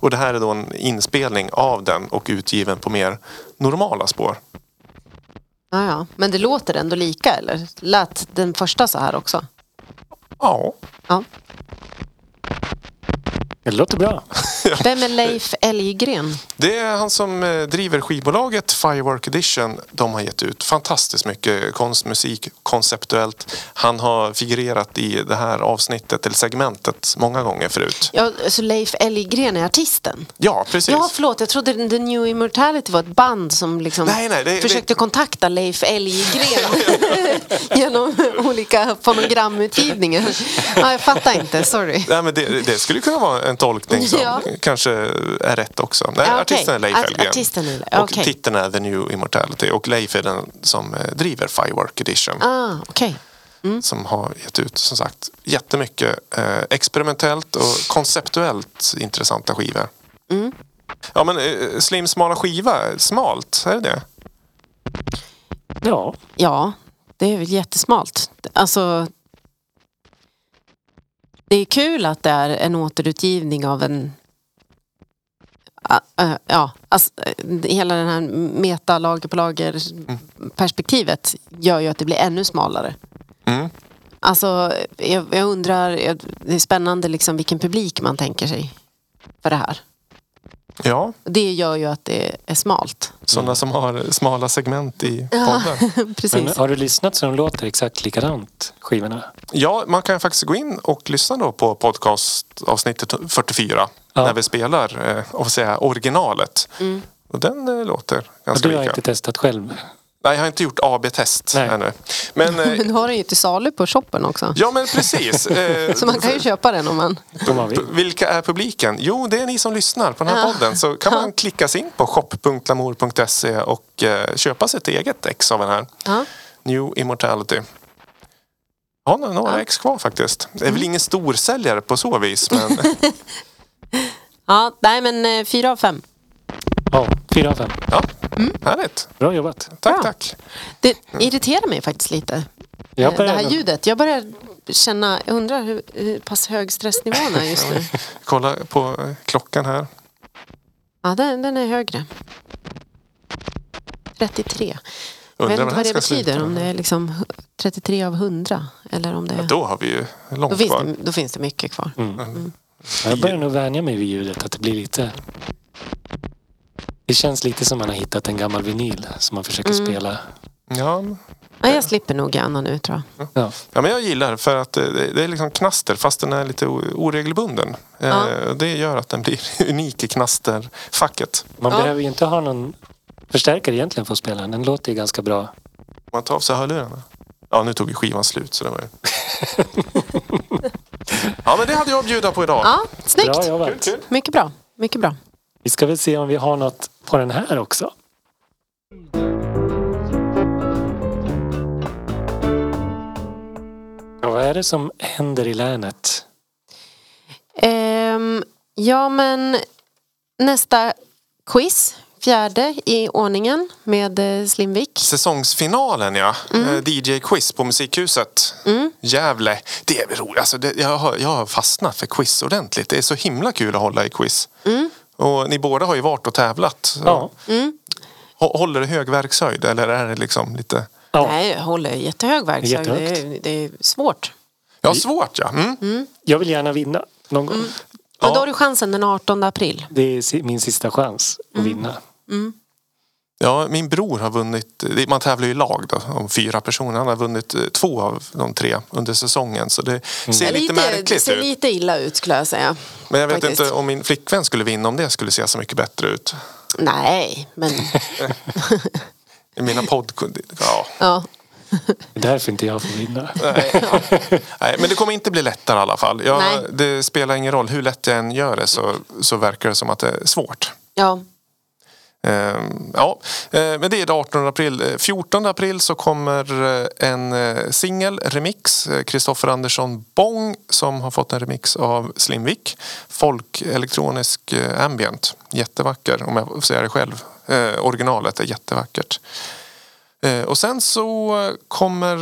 Speaker 1: Och det här är då en inspelning av den och utgiven på mer normala spår.
Speaker 3: Ja, ja. Men det låter ändå lika, eller? Lät den första så här också?
Speaker 1: Ja,
Speaker 3: Ja.
Speaker 2: Det låter bra.
Speaker 3: Vem är Leif Elggren?
Speaker 1: Det är han som eh, driver skivbolaget Firework Edition. De har gett ut fantastiskt mycket konst, musik, konceptuellt. Han har figurerat i det här avsnittet, eller segmentet, många gånger förut.
Speaker 3: Ja, så Leif Elggren är artisten?
Speaker 1: Ja, precis.
Speaker 3: Ja, förlåt. Jag trodde The New Immortality var ett band som liksom
Speaker 1: Nej, nej, det-
Speaker 3: försökte kontakta Leif Elggren genom olika fonogramutgivningar. Ja, jag fattar inte. Sorry.
Speaker 1: Nej, men det, det skulle kunna vara en tolkning som
Speaker 3: Ja.
Speaker 1: kanske är rätt också. Nej,
Speaker 3: Ja, okej.
Speaker 1: Artisten är Leif
Speaker 3: Art-
Speaker 1: Hellgren.
Speaker 3: artisten är Leif,
Speaker 1: Och
Speaker 3: okej.
Speaker 1: titeln är The New Immortality. Och Leif är den som eh, driver Firework Edition.
Speaker 3: Ah, okej.
Speaker 1: som har gett ut som sagt jättemycket eh, experimentellt och konceptuellt intressanta skivor.
Speaker 3: Mm.
Speaker 1: Ja men eh, Slim smala skiva, smalt, är det det?
Speaker 2: Ja,
Speaker 3: Ja, det är väl jättesmalt. Alltså, det är kul att det är en återutgivning av en... Ja, eh, Ja, alltså, eh, hela den här meta lager på lager perspektivet gör ju att det blir ännu smalare.
Speaker 1: Mm.
Speaker 3: Alltså, jag, jag undrar, jag- det är spännande liksom vilken publik man tänker sig för det här.
Speaker 1: Ja,
Speaker 3: Det gör ju att det är smalt.
Speaker 1: sådana
Speaker 2: Mm.
Speaker 1: som har smala segment i podden.
Speaker 3: Precis.
Speaker 2: men
Speaker 1: eh,
Speaker 2: har du lyssnat så de låter exakt likadant, skivorna?
Speaker 1: Ja, man kan faktiskt gå in och lyssna då på podcastavsnittet 44
Speaker 2: Ja.
Speaker 1: när vi spelar eh, och säga originalet.
Speaker 3: Mm.
Speaker 1: Och den eh, låter
Speaker 2: Och
Speaker 1: ganska
Speaker 2: du har
Speaker 1: lika.
Speaker 2: inte testat själv?
Speaker 1: Nej, jag har inte gjort AB-test
Speaker 2: Nej.
Speaker 1: ännu. Men, eh,
Speaker 3: Men du har den ju till salu på shoppen också.
Speaker 1: ja men precis. Eh,
Speaker 3: Så man kan ju köpa den om man...
Speaker 2: Om man
Speaker 1: P-
Speaker 2: vill.
Speaker 1: Vilka är publiken? Jo, det är ni som lyssnar på den här
Speaker 3: Ja.
Speaker 1: podden. Så kan man klicka sig in på shop.lamour.se och eh, köpa sitt eget ex av den här.
Speaker 3: Ja.
Speaker 1: New Immortality. Ja, nå- några ex kvar faktiskt. Det
Speaker 3: Mm.
Speaker 1: är väl ingen storsäljare på så vis, men
Speaker 3: Ja, nej men eh, fyra av fem.
Speaker 2: Ja, fyra av fem.
Speaker 1: ja,
Speaker 3: Mm.
Speaker 1: Härligt.
Speaker 2: Bra jobbat.
Speaker 1: Tack,
Speaker 3: Bra.
Speaker 1: tack.
Speaker 3: Det irriterar mig faktiskt lite.
Speaker 2: Jag
Speaker 3: eh, det här
Speaker 2: börjar-
Speaker 3: ljudet. Jag börjar känna, jag undrar hur, hur pass hög stressnivån är just nu.
Speaker 1: Kolla på eh, klockan här.
Speaker 3: Ja, den, den är högre. 33. Jag
Speaker 1: Undrar
Speaker 3: vet
Speaker 1: när
Speaker 3: inte vad
Speaker 1: den
Speaker 3: det
Speaker 1: ska
Speaker 3: betyder,
Speaker 1: sluta.
Speaker 3: om det är liksom hu- 33 av 100. Eller om det är...
Speaker 1: Då har vi ju
Speaker 3: Då
Speaker 1: långt
Speaker 3: finns,
Speaker 1: kvar.
Speaker 3: det, då finns det mycket kvar.
Speaker 2: Mm.
Speaker 3: Mm.
Speaker 2: Jag börjar nog vänja mig vid ljudet. Att det blir lite... Det känns lite som man har hittat en gammal vinyl som man försöker
Speaker 3: Mm.
Speaker 2: spela.
Speaker 1: Ja, men-
Speaker 3: Nej, jag slipper nog Anna nu tror jag.
Speaker 2: Ja.
Speaker 1: ja, men jag gillar för att eh, det det är liksom knaster fast den är lite o- oregelbunden. Eh,
Speaker 3: Ja.
Speaker 1: Det gör att den blir unik i knasterfacket.
Speaker 2: Man
Speaker 3: Ja.
Speaker 2: behöver ju inte ha någon förstärkare egentligen för att spela den. Den låter ju ganska bra.
Speaker 1: Man tar av sig hörlurarna. Ja, nu tog ju skivan slut så det var ju... ja, men det hade jag att bjuda på idag.
Speaker 3: Ja, snyggt!
Speaker 2: Bra jobbat.
Speaker 3: Mycket bra. Mycket bra.
Speaker 2: Vi ska väl se om vi har något på den här också. Ja, vad är det som händer i länet?
Speaker 3: Ehm, ja, men nästa quiz. Fjärde i ordningen med eh, Slimvik.
Speaker 1: Säsongsfinalen ja.
Speaker 3: Mm.
Speaker 1: Eh, DJ-quiz på Musikhuset. Gävle. Det är väl roligt. Alltså, det, jag, har, jag har fastnat för quiz ordentligt. Det är så himla kul att hålla i quiz.
Speaker 3: Mm.
Speaker 1: Och ni båda har ju varit och tävlat.
Speaker 2: Ja,
Speaker 1: Hå- Håller det hög verkshöjd eller är det liksom lite...
Speaker 2: ja.
Speaker 3: Nej, jag håller jättehög verkshöjd. Det,
Speaker 2: Jättehögt.
Speaker 3: är- det är svårt.
Speaker 1: Ja, svårt ja. Mm.
Speaker 2: jag vill gärna vinna någon
Speaker 3: Mm.
Speaker 2: gång.
Speaker 3: Men
Speaker 1: Ja.
Speaker 3: då har du chansen den 18 april.
Speaker 2: Det är si- min sista chans
Speaker 3: Mm.
Speaker 2: att vinna.
Speaker 1: Ja, min bror har vunnit, det- man tävlar ju i lag då, om fyra personer. Han har vunnit eh, två av de tre under säsongen. Så det ser
Speaker 3: Ja,
Speaker 1: lite
Speaker 3: det
Speaker 1: märkligt
Speaker 3: ser
Speaker 1: ut.
Speaker 3: Mm. lite illa ut skulle jag säga.
Speaker 1: Men jag vet
Speaker 3: faktiskt.
Speaker 1: inte om min flickvän skulle vinna om det skulle se så mycket bättre ut.
Speaker 3: Nej, men
Speaker 1: I mina poddkunder. Ja.
Speaker 3: ja.
Speaker 2: Det är därför inte jag får vinna.
Speaker 1: Nej, ja. Nej, men det kommer inte bli lättare i alla fall.
Speaker 3: Nej.
Speaker 1: Jag, det spelar ingen roll. Hur lätt jag än gör det så, så verkar det som att det är svårt.
Speaker 3: ja.
Speaker 1: Ehm, ja, eh, men det är det 18 april. Eh, 14 april så kommer eh, en eh, singel remix. Kristoffer Andersson Bong som har fått en remix av Slimvik. Folkelektronisk eh, ambient. Jättevacker om jag får säga det själv. Eh, originalet är jättevackert. Eh, Och sen så eh, kommer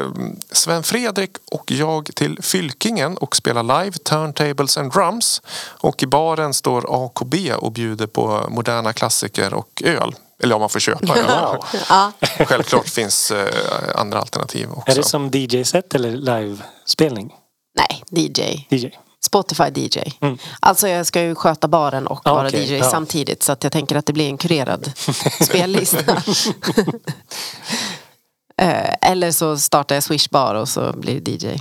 Speaker 1: eh, Sven Fredrik och jag till Fylkingen och spelar live Turntables and Drums. Och i baren står AKB och bjuder på moderna klassiker och öl. Eller om man får köpa öl.
Speaker 2: Wow.
Speaker 3: ja.
Speaker 1: Självklart finns eh, andra alternativ
Speaker 2: Är
Speaker 1: också.
Speaker 2: det som DJ-set eller livespelning?
Speaker 3: Nej, DJ.
Speaker 2: DJ.
Speaker 3: Spotify DJ. Alltså jag ska ju sköta baren och
Speaker 2: Mm. Ja,
Speaker 3: vara
Speaker 2: okej,
Speaker 3: DJ
Speaker 2: ja.
Speaker 3: samtidigt så att jag tänker att det blir en kurerad spellista. Eh, Eller så startar jag Swish-bar och så blir det DJ.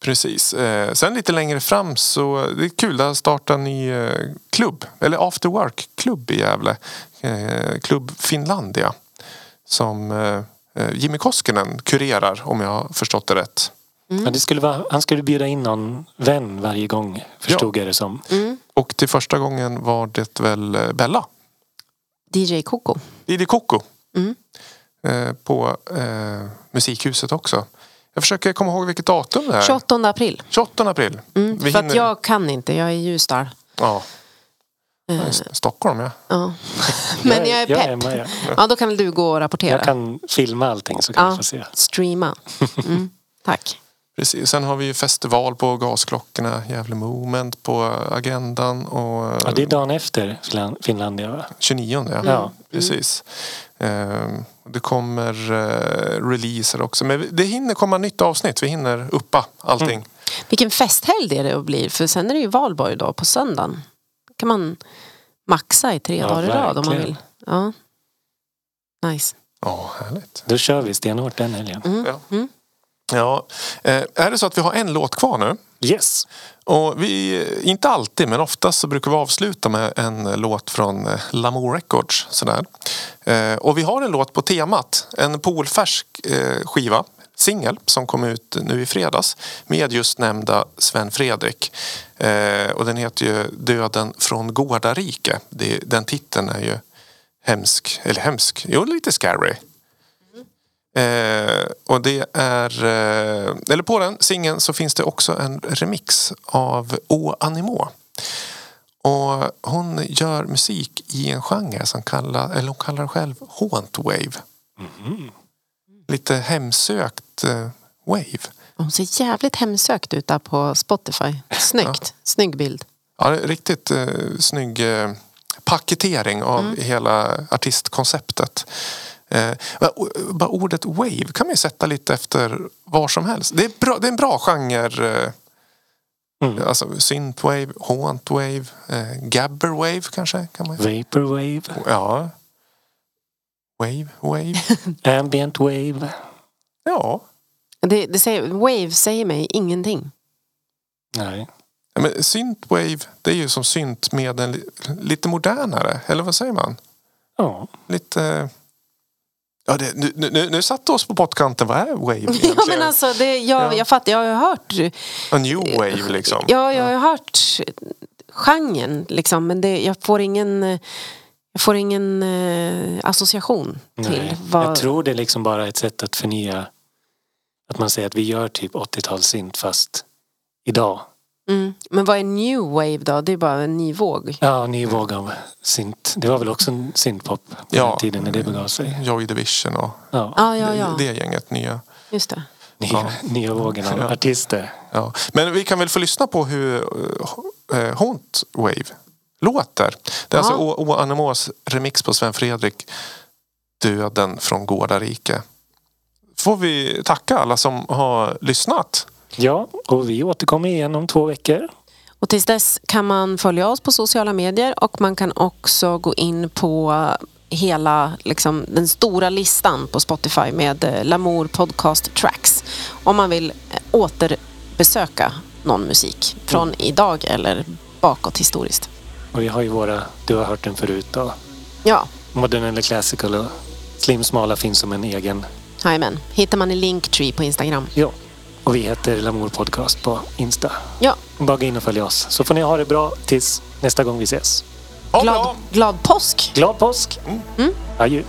Speaker 1: Precis. Eh, Sen lite längre fram så det är kul, där startar en ny eh, klubb. Eller after work-klubb i Gävle. Eh, Klubb Finlandia. Som eh, eh, Jimmy Koskinen kurerar om jag har förstått det rätt.
Speaker 3: Mm.
Speaker 2: Ja, det skulle vara, han skulle bjuda in någon vän varje gång, förstod jag det som.
Speaker 1: Och till första gången var det väl eh, Bella.
Speaker 3: DJ Coco.
Speaker 1: Didi Coco.
Speaker 3: Mm.
Speaker 1: Eh, På eh, Musikhuset också. Jag försöker komma ihåg vilket datum det är.
Speaker 3: 28 april. Mm,
Speaker 1: 28 april. Vi
Speaker 3: För att
Speaker 1: hinner-
Speaker 3: jag kan inte, jag är i Ljusdal.
Speaker 1: Ja.
Speaker 3: Eh.
Speaker 1: Ja, i Stockholm ja.
Speaker 3: Ja. Men jag är
Speaker 2: jag är
Speaker 3: pepp.
Speaker 2: med.
Speaker 3: ja, då kan väl du gå och rapportera.
Speaker 2: Jag kan filma allting så kan vi
Speaker 3: ja,
Speaker 2: få se.
Speaker 3: streama. Mm. Tack.
Speaker 1: Precis. Sen har vi ju festival på Gasklockorna, Gävle Moment på agendan och
Speaker 2: Ja, det Mm. är dagen efter Finland, Finlandia va?
Speaker 1: 29 ja.
Speaker 2: Ja.
Speaker 1: Precis. Ehm, Det kommer eh, releaser också. Men det hinner komma nytt avsnitt. Vi hinner uppa allting.
Speaker 2: Mm.
Speaker 3: Vilken festhelg det är det blir, för sen är det ju valborg då på söndagen. kan man maxa i tre
Speaker 2: Ja,
Speaker 3: dagar i rad om man
Speaker 2: verkligen.
Speaker 3: vill. Ja. Nice. Mm,
Speaker 1: Ja, härligt.
Speaker 2: Då kör vi stenhårt den helgen.
Speaker 1: Ja. Ja. Eh, Är det så att vi har en låt kvar nu?
Speaker 2: Yes!
Speaker 1: Och vi, inte alltid, men oftast så brukar vi avsluta med en eh, låt från eh, Lamour Records. Sådär. Eh, och vi har en låt på temat. En polfärsk eh, skiva, singel, som kom ut nu i fredags med just nämnda Sven Fredrik. Eh, och den heter ju Döden från Gårdarike. Det, den titeln är ju hemsk, eller hemsk, jo lite scary. Eh, och det är, eh, eller på den singeln så finns det också en remix av Å Animo. Och hon gör musik i en genre som kallar, eller hon kallar det själv Haunt Wave. Lite hemsökt eh, wave.
Speaker 3: Hon ser jävligt hemsökt ut där på Spotify. Snyggt. Snygg bild.
Speaker 1: Ja, det är riktigt eh, snygg eh, paketering av hela artistkonceptet. Eh, men, o- bara ordet wave kan man ju sätta lite efter var som helst. Det är, bra, det är en bra genre. Eh,
Speaker 2: Mm.
Speaker 1: Alltså synthwave, hauntwave, eh, gabberwave kanske? Kan man...
Speaker 2: Vaporwave,
Speaker 1: Ja. Wave, wave.
Speaker 2: ambient wave.
Speaker 1: Ja.
Speaker 3: Det, det säger, wave säger mig ingenting.
Speaker 2: Nej.
Speaker 1: Ja, Men synthwave, det är ju som synt med en li- lite modernare, eller vad säger man?
Speaker 2: Ja.
Speaker 1: Lite... Ja, det, nu, nu- nu, nu satte oss på pottkanten. Vad är wave egentligen?
Speaker 3: Ja, men alltså, det, jag,
Speaker 1: Ja.
Speaker 3: jag fattar, jag har ju hört,
Speaker 1: A new wave liksom.
Speaker 3: ja, jag har ju hört genren liksom, men det, jag får ingen, eh, jag får ingen eh, association till
Speaker 2: Nej.
Speaker 3: vad...
Speaker 2: Jag tror det är liksom bara ett sätt att förnya. Att man säger att vi gör typ 80-talssynt fast idag.
Speaker 3: mm. Men vad är new wave då? Det är bara en ny våg.
Speaker 2: Ja, ny våg av synt. Det var väl också en syntpop på
Speaker 1: Ja.
Speaker 2: den tiden när det begav sig.
Speaker 1: Joy Division och
Speaker 2: Ja.
Speaker 3: Ja, ja, ja,
Speaker 1: det det gänget nya.
Speaker 3: just det.
Speaker 2: Nya,
Speaker 1: Ja.
Speaker 2: nya vågen av
Speaker 1: Ja.
Speaker 2: artister.
Speaker 1: Ja. Men vi kan väl få lyssna på hur eh, Haunt Wave låter. Det är alltså
Speaker 3: Ja.
Speaker 1: O- O Anemos remix på Sven Fredrik Döden från Gårdarike. Får vi tacka alla som har lyssnat.
Speaker 2: Ja, och vi återkommer igen om två veckor.
Speaker 3: Och tills dess kan man följa oss på sociala medier och man kan också gå in på hela liksom, den stora listan på Spotify med eh, Lamour Podcast Tracks om man vill eh, återbesöka någon musik från
Speaker 1: Mm.
Speaker 3: idag eller bakåt historiskt.
Speaker 2: Och vi har ju våra, du har hört den förut då.
Speaker 3: Ja,
Speaker 2: Modern eller classical och Slim Smala finns som en egen.
Speaker 3: jajamän. Hittar man i Linktree på Instagram.
Speaker 2: Ja. Och vi heter Lamour Podcast på Insta.
Speaker 3: Ja,
Speaker 2: Bara gå in och följ oss. Så får ni ha det bra tills nästa gång vi ses.
Speaker 1: Ha
Speaker 3: glad,
Speaker 1: bra!
Speaker 3: glad påsk!
Speaker 2: Glad påsk! Adjö!